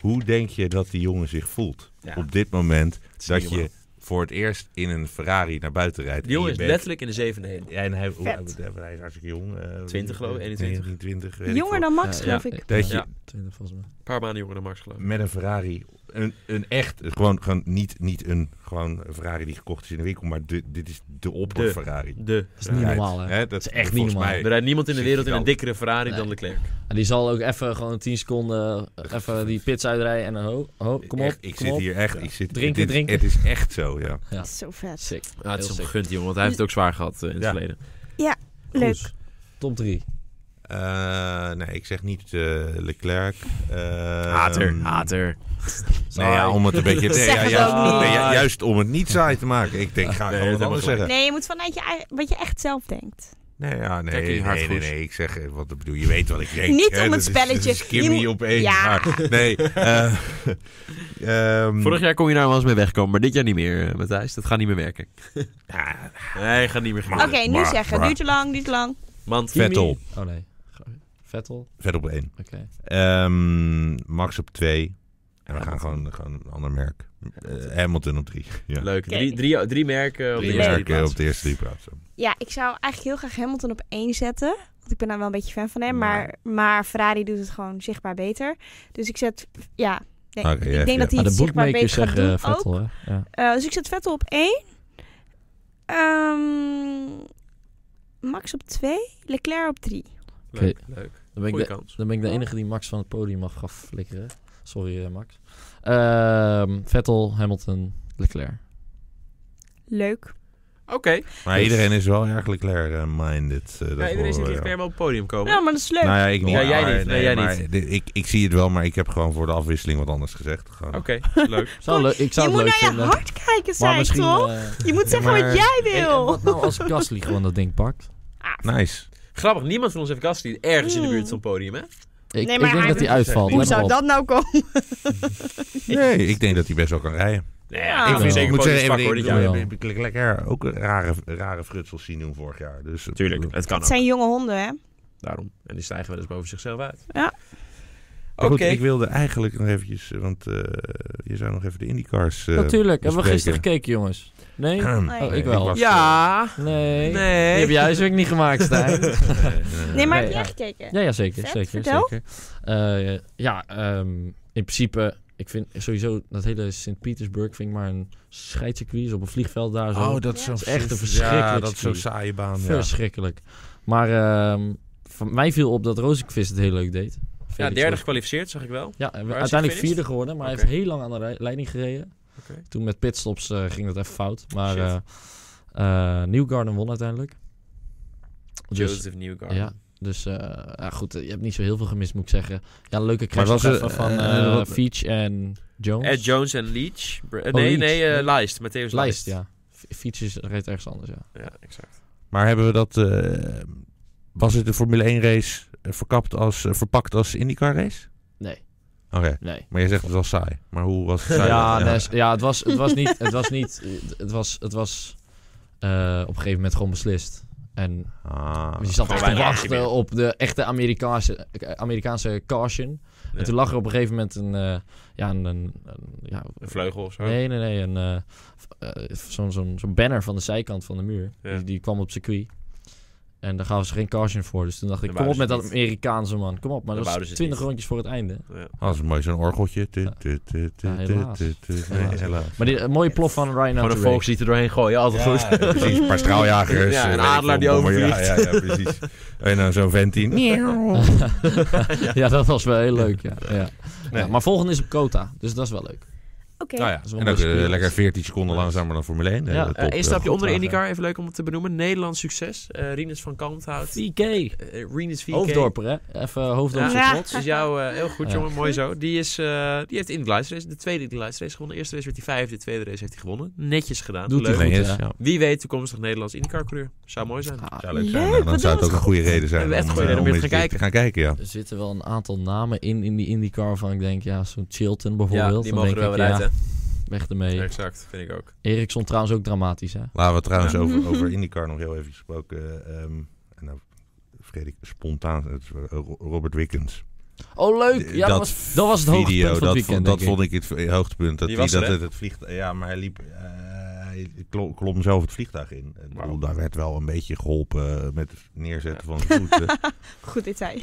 Hoe denk je dat die jongen zich voelt
ja,
op dit moment
het is niet
dat je
normaal.
voor het eerst in een Ferrari naar buiten rijdt?
Die jongen
en
is
je bent-
letterlijk in de zevende heen.
Ja, en hij, hoe
Vet.
oud- hij is hartstikke jong. eh,
20 geloof ik, 21.
19, weet ik
Jonger
veel.
dan Max,
Ja,
geloof
ja.
ik.
Dat je
Ja.
Tweede, volgens mij.
Een paar maanden jonger dan Max geloof ik.
met een Ferrari. Een, een echt, gewoon, gewoon niet, niet een, gewoon een Ferrari die gekocht is in de winkel, maar de, dit is de opper-Ferrari.
De.
Dat is niet
Rijdt,
normaal, hè?
hè? Dat
is echt niet
volgens
normaal.
mij-
Er rijdt niemand in de
Zit
wereld
je
in een
wel.
dikkere Ferrari
Nee.
dan Leclerc.
En die zal ook even gewoon 10 seconden eh, even die pits uitrijden en dan ho, ho, kom op,
Echt, ik
kom
zit
op.
hier echt, ik zit,
Drinken,
dit-
drinken.
Het is echt zo, ja.
Ja.
Dat is zo vet.
Sick.
Ja, Ah, het is
Heel
hem
sick.
gegund, jongen, want hij heeft het ook zwaar gehad eh, in het
Ja.
verleden.
Leuk.
Goed. Top 3.
Eh, nee, ik zeg niet eh, Leclerc. Eh,
Hater,
ehm,
hater.
Nee, ja, om het een beetje... Nee,
Zeg
ja,
het
juist,
ook niet.
nee, ja, juist om het niet saai te maken. Ik denk, ga ik
Nee,
gewoon
dat
wat
hebben
anders
we
zeggen.
Nee, je moet vanuit je eigen, wat je echt zelf denkt.
Nee, ja, nee,
Kijk,
nee,
die
nee, nee,
hartgoed.
ik zeg, eh, wat ik bedoel, je weet wat ik denk.
Niet
hè,
om
dat
het
is- dat
spelletje.
is Kimmy
Je moet-
opeens,
Ja.
maar nee. eh, ehm,
Vorig jaar kon je daar wel eens mee wegkomen, maar dit jaar niet meer, eh, Matthijs. Dat gaat niet meer werken.
ja,
Nee, gaat niet meer
Oké,
gebeuren.
nu
maar-
zeggen.
maar-
Duurt te lang, duurt te lang.
Want
Vettel,
Oh nee. Vettel?
vet op één.
Oké.
Ehm, Max op twee. En we gaan
Hamilton.
gewoon, gewoon een ander merk. Eh, Hamilton op drie. Ja.
Leuk.
Oké.
Drie, drie, drie merken op de
Drie
eerste
merken
plaats.
op de eerste drie plaatsen.
Ja, ik zou eigenlijk heel graag Hamilton op één zetten. Want ik ben daar wel een beetje fan van hem. Maar, maar Ferrari doet het gewoon zichtbaar beter. Dus ik zet, ja. Nee,
Oké, ja,
ik denk
ja.
dat hij
Maar
het
de
zichtbaar beter
bookmakers
gaat
zeggen
doen
eh,
ook.
Vettel, hè? Ja.
Eh, dus ik zet Vettel op één. Ehm, Max op twee. Leclerc op drie.
Leuk, leuk.
Dan ben ik
Goeie
de
kans.
Dan ben ik de enige die Max van het podium mag gaan flikkeren. Sorry, eh, Max. Ehm, Vettel, Hamilton, Leclerc.
Leuk.
Oké.
Dus-
Maar iedereen is wel erg Leclerc-minded. eh, dat
Ja, iedereen
horen we,
ziet
ja.
Leclerc wel op het podium komen.
Ja, maar dat is leuk.
Nou ja, ik niet.
Oh. Ja, jij
maar-
niet. Nee, jij
maar
niet.
de- ik, ik zie het wel, maar ik heb gewoon voor de afwisseling wat anders gezegd. Gewoon.
Oké, leuk.
Zou
Kom,
leuk- ik zou het leuk
je moet naar je
vinden.
hart kijken, zei
maar
ik
misschien...
toch?
eh,
Je moet zeggen
maar-
wat jij
en- en
wil.
wat nou als Gasly gewoon dat ding pakt?
Ah,
Nice.
Grappig, niemand van ons heeft Gasly ergens in de
Mm.
buurt van het podium, hè?
Ik,
Nee,
ik
maar
denk
hij-
dat hij uitvalt. let
Hoe
maar
zou
op.
dat nou komen?
Nee, ik denk dat hij best wel kan rijden.
Nee,
Ja.
Ah. ik
Ik
vind zeker
moet
podium
zeggen,
pakken, hoor,
ik
dit
ik-
jaar.
bedoel-
ik- ik- ik- lekker ook rare, rare frutsels zien doen vorig jaar. Dus,
Tuurlijk, het kan
Het
ook.
zijn jonge honden, hè?
Daarom. En die stijgen wel eens boven zichzelf uit.
Ja.
Oké.
Goed, ik wilde eigenlijk nog eventjes, eh, want eh, je zou nog even de IndyCars... eh,
Natuurlijk, hebben we
bespreken.
gisteren gekeken, jongens. Nee?
Oh,
ik wel.
was,
Ja.
Nee. Die
Nee.
heb jij dus ook niet gemaakt, Stijn.
eh, eh,
Nee,
Nee,
maar heb jij
ja.
gekeken?
Ja, ja zeker.
Vet,
zeker,
vertel.
zeker. Eh, ja, ehm, in principe, ik vind sowieso dat hele Sint-Petersburg vind ik maar een scheidcircuit. Is op een vliegveld daar zo.
Oh, dat is
Ja.
zo'n
Dat
is echt een
Ja,
verschrikkelijk
dat is zo'n saaie baan. Ja.
Verschrikkelijk. Maar ehm, voor mij viel op dat Rozenqvist het heel leuk deed.
Ja,
Felix
derde
Rozenqvist.
gekwalificeerd, zag ik wel.
Ja, en we-
hij
uiteindelijk
gefinished?
vierde geworden, maar
Oké.
hij heeft heel lang aan de rij- leiding gereden.
Oké.
Toen met pitstops eh, ging dat even fout. Maar
Shit.
eh eh, Newgarden won uiteindelijk. Dus,
Joseph Newgarden.
ja, dus eh, ja, goed, eh, je hebt niet zo heel veel gemist, moet ik zeggen. Ja, een leuke
Maar
crash nog
was er-
even van
eh,
eh,
wat-
Veach en Jones.
Ed Jones en Leach. Br- eh, nee,
Leach.
nee, eh Lijst. Matthäus
Lijst,
Lijst.
ja. Ve- Veach is- reed ergens anders, ja.
ja, exact.
Maar hebben we dat... eh, was het de Formule 1 race eh, verkapt als, eh, verpakt als IndyCar race?
Nee,
Oké,
nee.
maar je zegt het was saai. Maar hoe was het saai?
Ja, nee, s- ja het, was, het was niet... Het was, niet, het- het was, het was eh, op een gegeven moment gewoon beslist. En
Ah.
je zat
gewoon
echt te
bijna actie
wachten
meer.
op de echte Amerikaanse, eh, Amerikaanse caution.
Ja.
En toen lag er op een gegeven moment een... eh, ja, een, een, een- ja,
Een vleugel of zo.
Nee, nee, nee. Een, eh, f- eh, zo'n zo'n zo'n banner van de zijkant van de muur.
Ja.
Die, die kwam op circuit. En daar gaven ze geen caution voor. Dus toen dacht ik,
Dan
kom op met
wouden ze
dat
het
Amerikaanse man. Kom op, maar
Dan
dat
wouden
is
ze het
20
niet.
rondjes voor het einde.
Ja.
Als mooi zo'n orgeltje. Tu, tu, tu, tu,
Ja,
tu,
helaas.
tu, tu. Nee,
Helaas.
helaas.
Maar die een mooie plof van Ryan
Gewoon een
Hathaway.
volkslied er doorheen gooien, altijd goed.
Ja, precies, een paar straaljagers.
Ja, een
eh, weet ik
adelaar die
veel, bommen.
overvliegt.
Ja, ja, ja, precies. En dan zo'n vent die...
ja, dat was wel heel leuk, ja. ja.
Nee.
Ja, maar volgende is op Kota, dus dat is wel leuk.
Oké.
Nou ja,
is wel
en dan
mooi
eh,
gespeeld.
lekker 14 seconden langzamer dan Formule 1. eh,
Ja,
top,
Eh,
eh,
Eén stapje
goed
onder de
vraag,
IndyCar, even leuk om het te benoemen. Nederlands succes. Eh Rinus van Kalmthout.
TK.
Eh Rinus VK.
Hoofddorper, hè? Even hoofddorper.
Ja.
Ja.
trots.
Dus jou eh, heel goed,
Ja.
jongen. Mooi zo. Die, is, eh, die heeft in de Lights race, de tweede Indy Lights race gewonnen. De eerste race werd hij vijfde, de tweede race heeft hij gewonnen. Netjes gedaan.
Doet
Leuk.
hij
Nee,
goed,
is,
ja.
ja.
Wie weet, toekomstig Nederlands IndyCar coureur. Zou mooi zijn.
Ah,
Zou leuk
Leuk,
zijn. Nou,
wat
dan zou het
doen
ook
we
een goede reden
We
zijn
hebben echt
om,
goede
eh,
reden om
om
weer te
eens
gaan
dit te gaan kijken. Ja.
er zitten wel een aantal namen in, in die IndyCar waarvan ik denk, ja, zo'n Chilton
Ja,
bijvoorbeeld.
die
Dan
mogen er
denk
wel
ik,
weer uit,
ja,
hè?
Weg ermee.
Exact, vind ik ook.
Eriksson trouwens ook dramatisch, hè?
Laten we trouwens
Ja.
over, over IndyCar nog heel even gesproken. eh, ehm, en nou vergeet ik spontaan het is, eh, Ro- Robert Wickens.
Oh, leuk!
Eh,
Ja, dat,
Dat
was, dat was het hoogtepunt
Video,
van het
dat,
weekend,
vond,
denk
dat
ik.
vond ik het v- eh, hoogtepunt. Dat
Die
hij
was er,
dat
hè?
het, het vliegtuig... Ja, maar hij liep... eh, hij klo- klom zelf het vliegtuig in. Ik bedoel,
Wauw.
Daar werd wel een beetje geholpen met het neerzetten van zijn voeten.
Goed detail.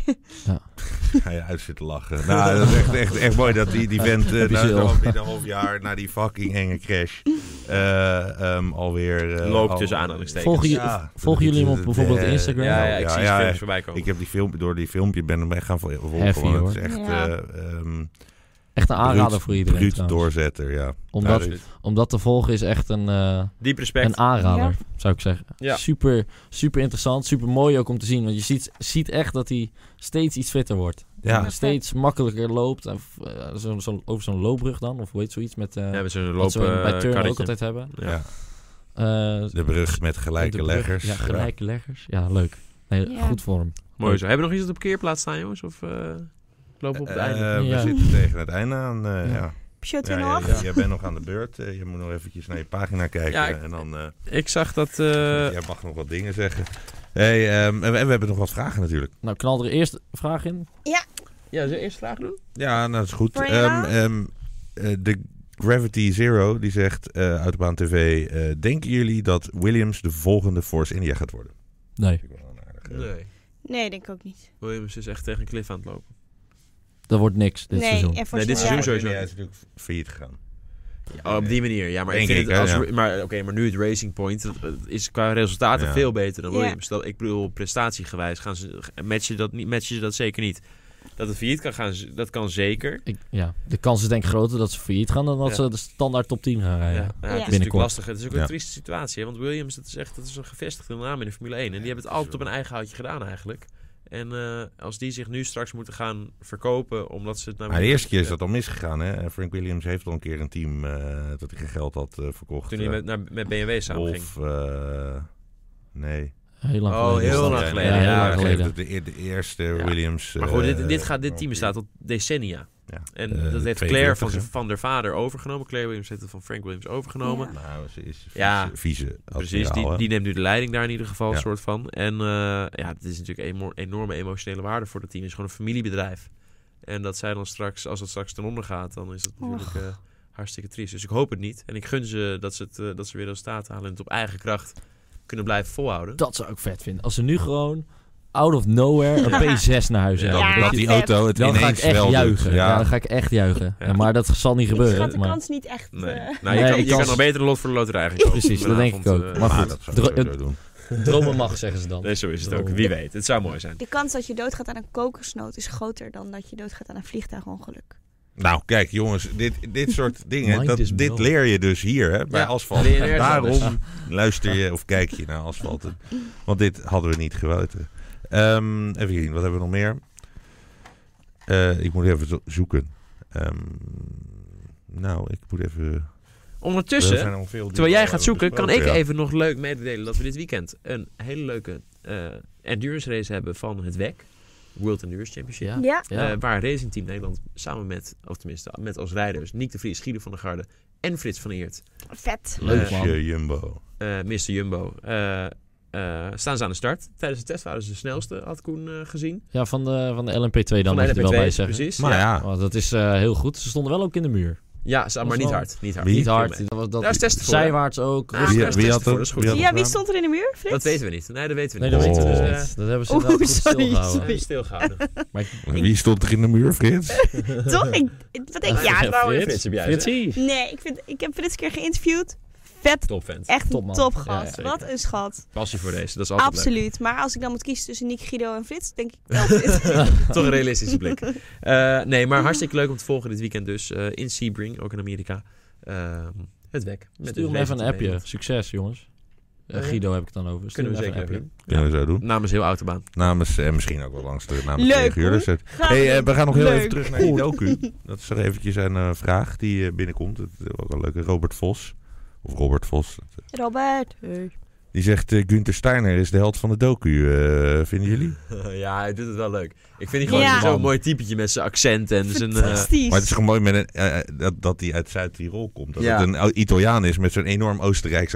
Ga je uit zitten lachen. Nou, dat is echt, echt, echt mooi dat die, die vent eh, na
Bizar.
zo'n half- een half jaar, na die fucking enge crash, eh, ehm, alweer... eh,
Loopt
al-
tussen aanhalingstekens.
Volgen, je-
Ja.
volgen jullie hem op
Eh,
bijvoorbeeld Instagram?
Ja, ja,
ja,
ik zie
ja,
films
ik-
voorbij komen.
Ik heb die film, door die filmpje ben ik mee gaan vol- volgen.
Heavy,
want het
hoor.
is echt
Ja.
eh, ehm,
Echt een aanrader
bruut-
voor iedereen,
bruut
trouwens.
doorzetter, ja.
Om,
Ja,
dat,
dus-
om dat te volgen is echt een, eh,
Diep respect.
een aanrader, zou ik zeggen.
Ja.
Super, super interessant, super mooi ook om te zien. Want je ziet, ziet echt dat hij steeds iets fitter wordt.
Ja,
Ja.
Steeds makkelijker loopt. En, eh, zo, zo, over zo'n loopbrug dan, of weet zoiets met... eh,
ja, hebben ze een
wat ze
lopen
bij Turn ook
karretje.
altijd hebben.
Ja.
ja.
Eh,
De brug met gelijke
de brug.
leggers.
Ja, gelijke leggers. Ja, leuk. Nee,
Ja.
Goed voor hem.
Mooi zo. Hebben we nog iets op de parkeerplaats staan, jongens? Of eh, lopen we op het
Eh,
einde?
we
Ja.
zitten tegen het einde aan. eh,
Ja.
ja.
Show
Ja,
2
ja,
nog.
ja, jij bent nog aan de beurt. Eh, je moet nog eventjes naar je pagina kijken.
Ja, ik-
en dan, eh,
Ik zag dat... eh,
jij mag nog wat dingen zeggen. Hey, ehm, en, we, en we hebben nog wat vragen natuurlijk.
Nou, knal er eerst een vraag in.
Ja, zullen we eerst vraag doen?
Ja, nou, dat is goed.
Voor je
Ehm,
raad?
ehm, eh, de Gravity Zero die zegt eh Autobaan TV: eh, Denken jullie dat Williams de volgende Force India gaat worden?
Nee.
Vind ik wel een aardige.
Nee.
Nee, denk ik ook niet.
Williams is dus echt tegen een cliff aan het lopen.
Dat wordt niks dit
nee,
seizoen.
en voor
Nee, dit
ja.
Maar
seizoen
Force
sowieso.
India is natuurlijk failliet gegaan.
Oh, op die manier, ja. Maar, ik
Denk
vind
ik,
het
hè,
als,
ja.
maar, oké, maar nu het Racing Point dat, dat is qua resultaten
Ja.
veel beter dan
Ja.
Williams. Dat, ik bedoel, prestatiegewijs gaan ze, matchen, dat niet, matchen ze dat zeker niet. Dat het failliet kan gaan, ze- dat kan zeker.
Ik, ja, de kans is denk ik groter dat ze failliet gaan dan dat
Ja.
ze de standaard top 10
Ja.
gaan
Ja,
rijden.
het is natuurlijk
Binnenkort.
lastig. Het is ook een
Ja.
trieste situatie. Hè? Want Williams, dat is echt dat is een gevestigde naam in de Formule 1. En die hebben het altijd op een eigen houtje gedaan eigenlijk. En eh, als die zich nu straks moeten gaan verkopen, omdat ze het... nou
Maar de eerste keer is dat al misgegaan. Hè? En Frank Williams heeft al een keer een team eh, dat hij geen geld had eh, verkocht.
Toen hij
Eh,
met, naar, met BMW samen ging.
Of, eh, nee.
Heel lang
Oh,
geleden. is
heel
dat.
lang
Nee,
geleden,
nee,
ja,
nee,
lang
geeft
geleden.
het De, de eerste
Ja.
Williams.
Maar goed, dit,
eh,
dit, gaat, dit team bestaat al decennia.
Ja.
En
Eh,
dat heeft
42,
Claire van,
hè?
zijn- van haar vader overgenomen. Claire Williams heeft het van Frank Williams overgenomen.
Ja.
Nou, ze is vieze,
Ja,
vieze
Precies,
admiraal,
die,
hè?
die neemt nu de leiding daar in ieder geval,
Ja.
soort van. En eh, ja, het is natuurlijk een emo- enorme emotionele waarde voor dat team. Het is gewoon een familiebedrijf. En dat zij dan straks, als het straks ten onder gaat, dan is dat natuurlijk eh, hartstikke triest. Dus ik hoop het niet. En ik gun ze dat ze, het, eh, dat ze weer resultaat halen en het op eigen kracht kunnen blijven volhouden.
Dat zou ik vet vinden. Als ze nu gewoon out of nowhere een P6 naar huis
Ja,
hebben.
dat,
Ja,
dat
je-
die
vet.
auto het
dan ga ik
ineens
echt
wel doet.
juichen. Ja.
Ja,
dan ga ik echt juichen.
Ja.
Ja, maar dat zal niet
Ik schat
gebeuren.
de
maar-
kans niet echt.
Nee. Nou,
eh,
je,
Nee,
kan,
de
je kan
kans-
nog beter een lot voor de loterij gaan kopen.
Precies, dat denk ik
Vanavond,
ook.
eh,
Maar
maar
goed,
dat zou
dro-
ik sowieso doen.
Dromen mag, zeggen ze dan.
Nee, zo is het ook. Wie weet, het zou mooi zijn.
de kans dat je doodgaat aan een kokosnoot is groter dan dat je doodgaat aan een vliegtuigongeluk.
Nou, kijk jongens, dit, dit soort dingen,
Mind
dat,
is
dit
blown.
leer je dus hier hè, bij
Ja,
asfalt.
leer je nergens
dus.
Daarom
anders.
luister je of kijk je naar asfalt. Want dit hadden we niet geweten. Ehm even zien, wat hebben we nog meer? Eh, ik moet even zo- zoeken. Ehm, nou, ik moet even... Er
Ondertussen
zijn al veel die
Dus, Terwijl jij
we
gaat
al
zoeken, kan ik
besproken, ja.
even nog leuk mededelen dat we dit weekend een hele leuke eh, endurance race hebben van het WEC. World Endurance Championship.
Ja.
Ja.
Ja.
Eh, waar Racing Team Nederland samen met, of tenminste met als rijders, Niek de Vries, Guido van der Garde en Frits van Eert,
Vet.
Leuk
Eh,
man.
Lusje Jumbo.
eh Mr. Jumbo, eh, eh, staan ze aan de start. Tijdens de test waren ze de snelste, had Koen eh, gezien.
Ja, van de, van de LMP2 dan moet
de
je er wel bij
LMP2,
zeggen.
Precies.
Maar
ja.
ja,
Oh, dat is eh, heel goed. Ze stonden wel ook in de muur.
Ja, sa- maar
was
niet
wel-
hard. Niet hard.
Wie?
Niet
Niet
veel
hard.
mensen.
Dat was, dat,
Daar is testen voor. hè?
zijwaarts ook.
Ah,
rustig.
Ja,
Wie,
dat
wie
is
had
voor, dat
dat?
is goed.
Wie had
Ja,
dat
wie
gedaan?
stond er in de muur, Frits?
Dat weten we niet. Nee, dat weten we
Nee,
niet.
dat
Oh.
weten we dus
eh,
niet. Dat hebben ze
Oeh,
inderdaad goed
sorry.
dat
stilgehouden.
is stilgehouden.
Maar ik-
Wie stond er in de muur, Frits?
Toch? Ik, wat denk, ja,
nou,
Frits,
Frits heb jij,
Fritsie.
nee, ik, vind, ik heb Frits een keer geïnterviewd. Vet,
Top vent.
echt
Top
een
man.
top
Ja, ja,
gast.
zeker.
wat een schat.
Passie voor deze. Dat is altijd leuk.
Absoluut. Maar als ik dan moet kiezen tussen Nick, Guido en Frits, denk ik wel Frits.
Toch een realistische blik. Eh, nee, maar hartstikke leuk om te volgen dit weekend dus. eh, in Sebring, ook in Amerika. Ehm, het WEC. Met
Stuur
het
hem even een
WEC.
appje. Succes, jongens. Eh,
Eh,
Guido heb ik het dan over. Stuur
Kunnen we
hem
zeker
even een
hebben.
Kunnen we zo doen.
Namens heel Autobaan.
Namens, en misschien ook wel langs de namens
Leuk,
negen uur.
hoor.
Dus het-
Graag
hey, eh,
doen.
we gaan nog heel
Leuk.
even terug naar die docu. Dat is er eventjes een eh, vraag die eh, binnenkomt. Dat is ook een leuke. Robert Vos. Of Robert Vos.
Robert. Hey.
Die zegt, eh, Gunther Steiner is de held van de docu. eh, vinden jullie?
ja, hij doet het wel leuk. Ik vind die gewoon
Ja.
zo'n mooi typetje met zijn accent en zijn... eh,
Fantastisch.
Maar het is gewoon mooi met een, eh, eh, dat, dat die uit Zuid-Tirol komt. Dat
Ja.
het een Italiaan is met zo'n enorm Oostenrijks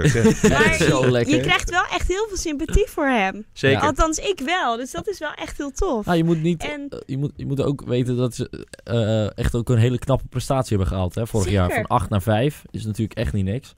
accent.
Maar
Zo lekker.
je krijgt wel echt heel veel sympathie voor hem.
zeker.
Ja.
Althans, ik wel. Dus dat is wel echt heel tof.
Nou, je moet niet...
En
eh, Je moet, je moet ook weten dat ze eh, echt ook een hele knappe prestatie hebben gehaald. Hè? Vorig jaar
Zeker.
van 8 naar 5 is natuurlijk echt niet niks.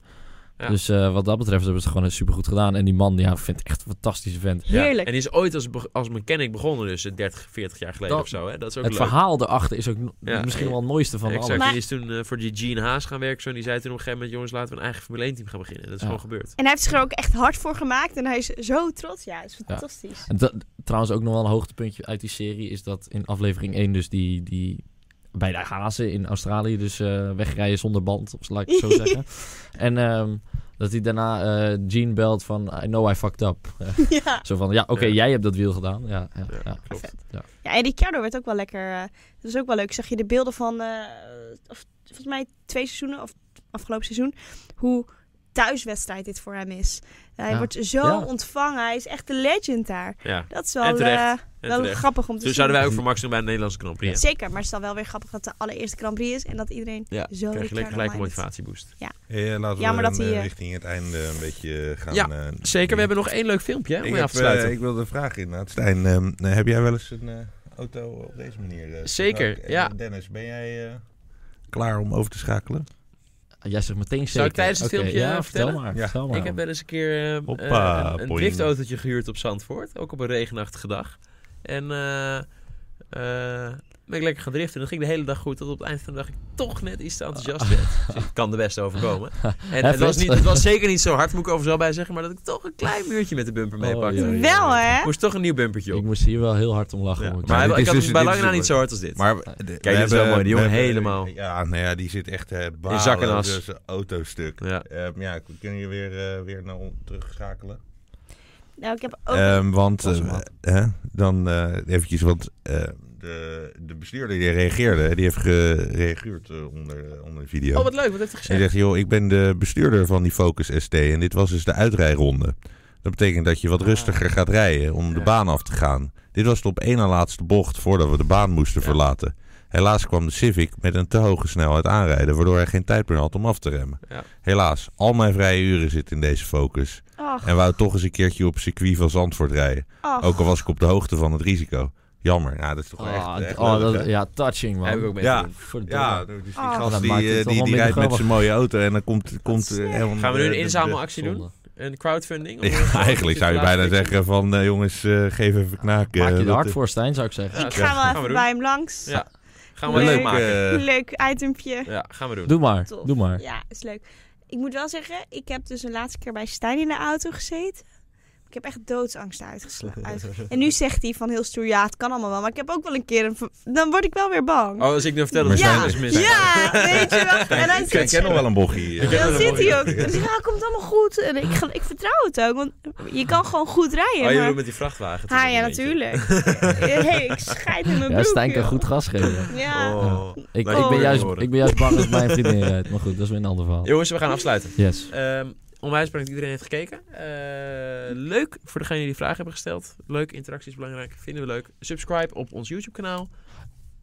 Ja.
Dus eh, wat dat betreft hebben ze het gewoon supergoed gedaan. En die man, ja, vindt echt een fantastische vent.
Ja.
heerlijk.
En die is ooit als, be- als mechanic begonnen, dus eh, 30, 40 jaar geleden
Dat-
of zo. Hè? Dat is ook
Het
leuk.
verhaal erachter is ook no-
Ja.
misschien wel het mooiste van
exact.
alles.
Maar-
Die is toen eh, voor die Gene Haas gaan werken. Zo, en die zei toen op een gegeven moment... Jongens, laten we een eigen Formule 1 team gaan beginnen. Dat is
Ja.
gewoon gebeurd.
En hij heeft zich er ook echt hard voor gemaakt. En hij is zo trots. Ja, het is fantastisch.
En dat- trouwens ook nog wel een hoogtepuntje uit die serie is dat in aflevering 1 dus die, die bij de hazen in Australië dus eh, wegrijden zonder band, of laat ik het zo zeggen. En ehm, dat hij daarna eh Gene belt van I know I fucked up. Eh,
Ja.
zo van ja, oké,
Ja.
jij hebt dat wiel gedaan. Ja, ja,
Ja,
ja.
klopt.
ja, en Ricciardo werd ook wel lekker. eh, dat is ook wel leuk. Zag je de beelden van, eh, of, volgens mij twee seizoenen, of afgelopen seizoen, hoe thuiswedstrijd dit voor hem is. Hij
Ja.
wordt zo
Ja.
ontvangen. Hij is echt de legend daar.
Ja.
Dat is
En
wel,
terecht.
eh,
En
wel
terecht.
grappig om
Dus
te
Toen
zien.
zouden wij ook voor Max doen bij de Nederlandse Grand Prix. hè?
Zeker, maar het is dan wel weer grappig dat het de allereerste Grand Prix is en dat iedereen
Ja,
zo
Krijg je
Ricciardo
lekker gelijk een
mindet.
motivatieboost.
Eh, laten we
Jammer dat
hem,
hij,
eh,
eh,
richting het einde een beetje gaan...
Ja,
eh,
Zeker, we hebben nog één leuk filmpje hè, om
Ik,
mee
heb,
af te sluiten.
eh, ik wilde een vraag in. Stijn, ehm, eh, heb jij wel eens een eh, auto op deze manier? eh,
Zeker,
gebruikt? En,
ja.
eh, Dennis, ben jij eh, klaar om over te schakelen?
Jij zegt meteen zeker.
Zou ik tijdens het
Oké,
filmpje, eh,
ja, vertel
vertellen?
maar.
Ja.
Vertel maar.
Ik heb wel eens een keer eh,
Hoppa,
eh, een, een
boing.
driftautootje gehuurd op Zandvoort. Ook op een regenachtige dag. En eh, eh, ben ik lekker gaan driften. En dat ging de hele dag goed. Tot op het eind van de dag ik toch net iets te enthousiast werd.
Ah.
Dus het kan de beste overkomen. En het, was
Frits?
niet, het was zeker niet zo hard, moet ik over zo bij zeggen. Maar dat ik toch een klein muurtje met de bumper meepakte.
Oh, ja, ja.
Wel hè?
Ik moest toch een nieuw bumpertje
ik
op.
moest hier wel heel hard om lachen.
Ja,
moet ik
Maar ik
dit is
had
dus-
het bij
dit
lange
is
na
ook
niet zo hard als dit.
Maar
is wel mooi, die jongen helemaal.
Ja, nou ja, die zit echt eh balen
zak en as.
over zijn auto stuk.
ja.
Ehm, ja, k- kunnen jullie weer, eh, weer naar on- terugschakelen?
Oh,
Nou, ik heb ook
Ehm, want
Pas hem
eh,
op.
hè, dan eh, eventjes, want eh, de, de bestuurder die reageerde, hè, die heeft gereageerd eh, onder, eh, onder de video.
Oh, wat leuk. Wat heeft hij
En
gezegd?
die zegt, joh, ik ben de bestuurder van die Focus ST en dit was dus de uitrijronde. Dat betekent dat je wat
Ah.
rustiger gaat rijden om de
Ja.
baan af te gaan. Dit was de op één na laatste bocht voordat we de baan moesten
Ja.
verlaten. Helaas kwam de Civic met een te hoge snelheid aanrijden, waardoor hij geen tijd meer had om af te remmen.
Ja.
Helaas, al mijn vrije uren zitten in deze Focus
Ach,
en wou toch eens een keertje op circuit van Zandvoort rijden.
ach.
Ook al was ik op de hoogte van het risico. Jammer, nou, dat is toch wel echt,
Ah,
echt
oh,
lullig,
dat-
hè?
ja, touching man.
Heb ik ook mee
Ja.
te doen.
Verdomme.
Ja, dus die
Ah.
gast
Dat
die,
maakt het
eh,
toch
die, die
wel minder
rijdt met
grappig.
zijn mooie auto en dan komt, komt eh,
slecht.
helemaal...
Gaan we nu een
de- de-
inzamelactie doen?
Zonde.
Een crowdfunding?
de- Ja, eigenlijk zou je bijna zeggen van, eh, jongens, eh, geef even knaken.
Maak je er
Dat-
hard voor, Stijn, zou ik zeggen.
Ja,
ik
ja.
ga wel
Gaan we
even
doen.
bij hem langs.
Ja. Gaan we
Leuk,
leuk maken.
eh,
Leuk itempje.
Ja, gaan we doen.
Doe maar,
Tof.
doe maar.
Ja, is leuk. Ik moet wel zeggen, ik heb dus de laatste keer bij Stijn in de auto gezeten. Ik heb echt doodsangst uitgeslagen. en nu zegt hij van heel stoer, ja, het kan allemaal wel. Maar ik heb ook wel een keer een... ver- Dan word ik wel weer bang.
Oh, als ik nu vertel dat
Maar
het
ja,
is mis. Oh,
ja, weet je wel. En dan
Ik ken-
zit,
ken nog wel een bochie. eh.
ken
dan
wel
zit
een
hij ook. Dus ja, komt allemaal goed. En ik, ge- ik vertrouw het ook, want je kan gewoon goed rijden.
Oh, je
maar...
bedoelt met die vrachtwagen. toen
Ha,
op
ja,
een beetje.
natuurlijk. hey, ik scheid in mijn
Ja,
broek.
Stijn kan
joh.
goed gas geven.
Ja.
Oh.
Ik,
Laat
je
ik, ben
horen,
juist,
horen.
ik ben juist bang dat mijn vriendin rijdt. Maar goed, dat is weer een ander verhaal.
Jongens, we gaan afsluiten.
Yes.
Ehm onwijs bedankt dat iedereen heeft gekeken. Eh, leuk voor degenen die vragen hebben gesteld. Leuk, interactie is belangrijk. Vinden we leuk. Subscribe op ons YouTube kanaal.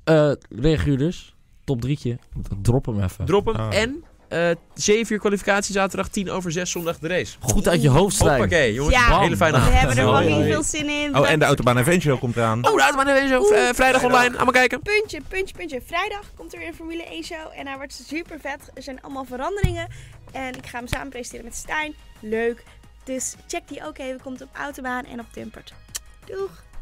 Eh reageer dus. Top drietje. Drop hem even.
Drop hem.
Ah.
En eh 7 uur kwalificatie zaterdag, 10 over 6 zondag de race.
Goed uit je hoofd strijken.
Hoppakee, jongens.
Ja.
Hele fijne
We
avond.
hebben er
Oh,
fucking
jee.
veel zin in.
Oh, en de Autobahn Adventure komt eraan.
Oh, de Autobahn Adventure,
Oeh.
eh, vrijdag online. Allemaal kijken.
Puntje, puntje, puntje. Vrijdag komt er weer een Formule 1 show en hij wordt super vet. Er zijn allemaal veranderingen en ik ga hem samen presenteren met Stijn. Leuk. Dus check die ook even. Komt op Autobaan en op Timpert. Doeg!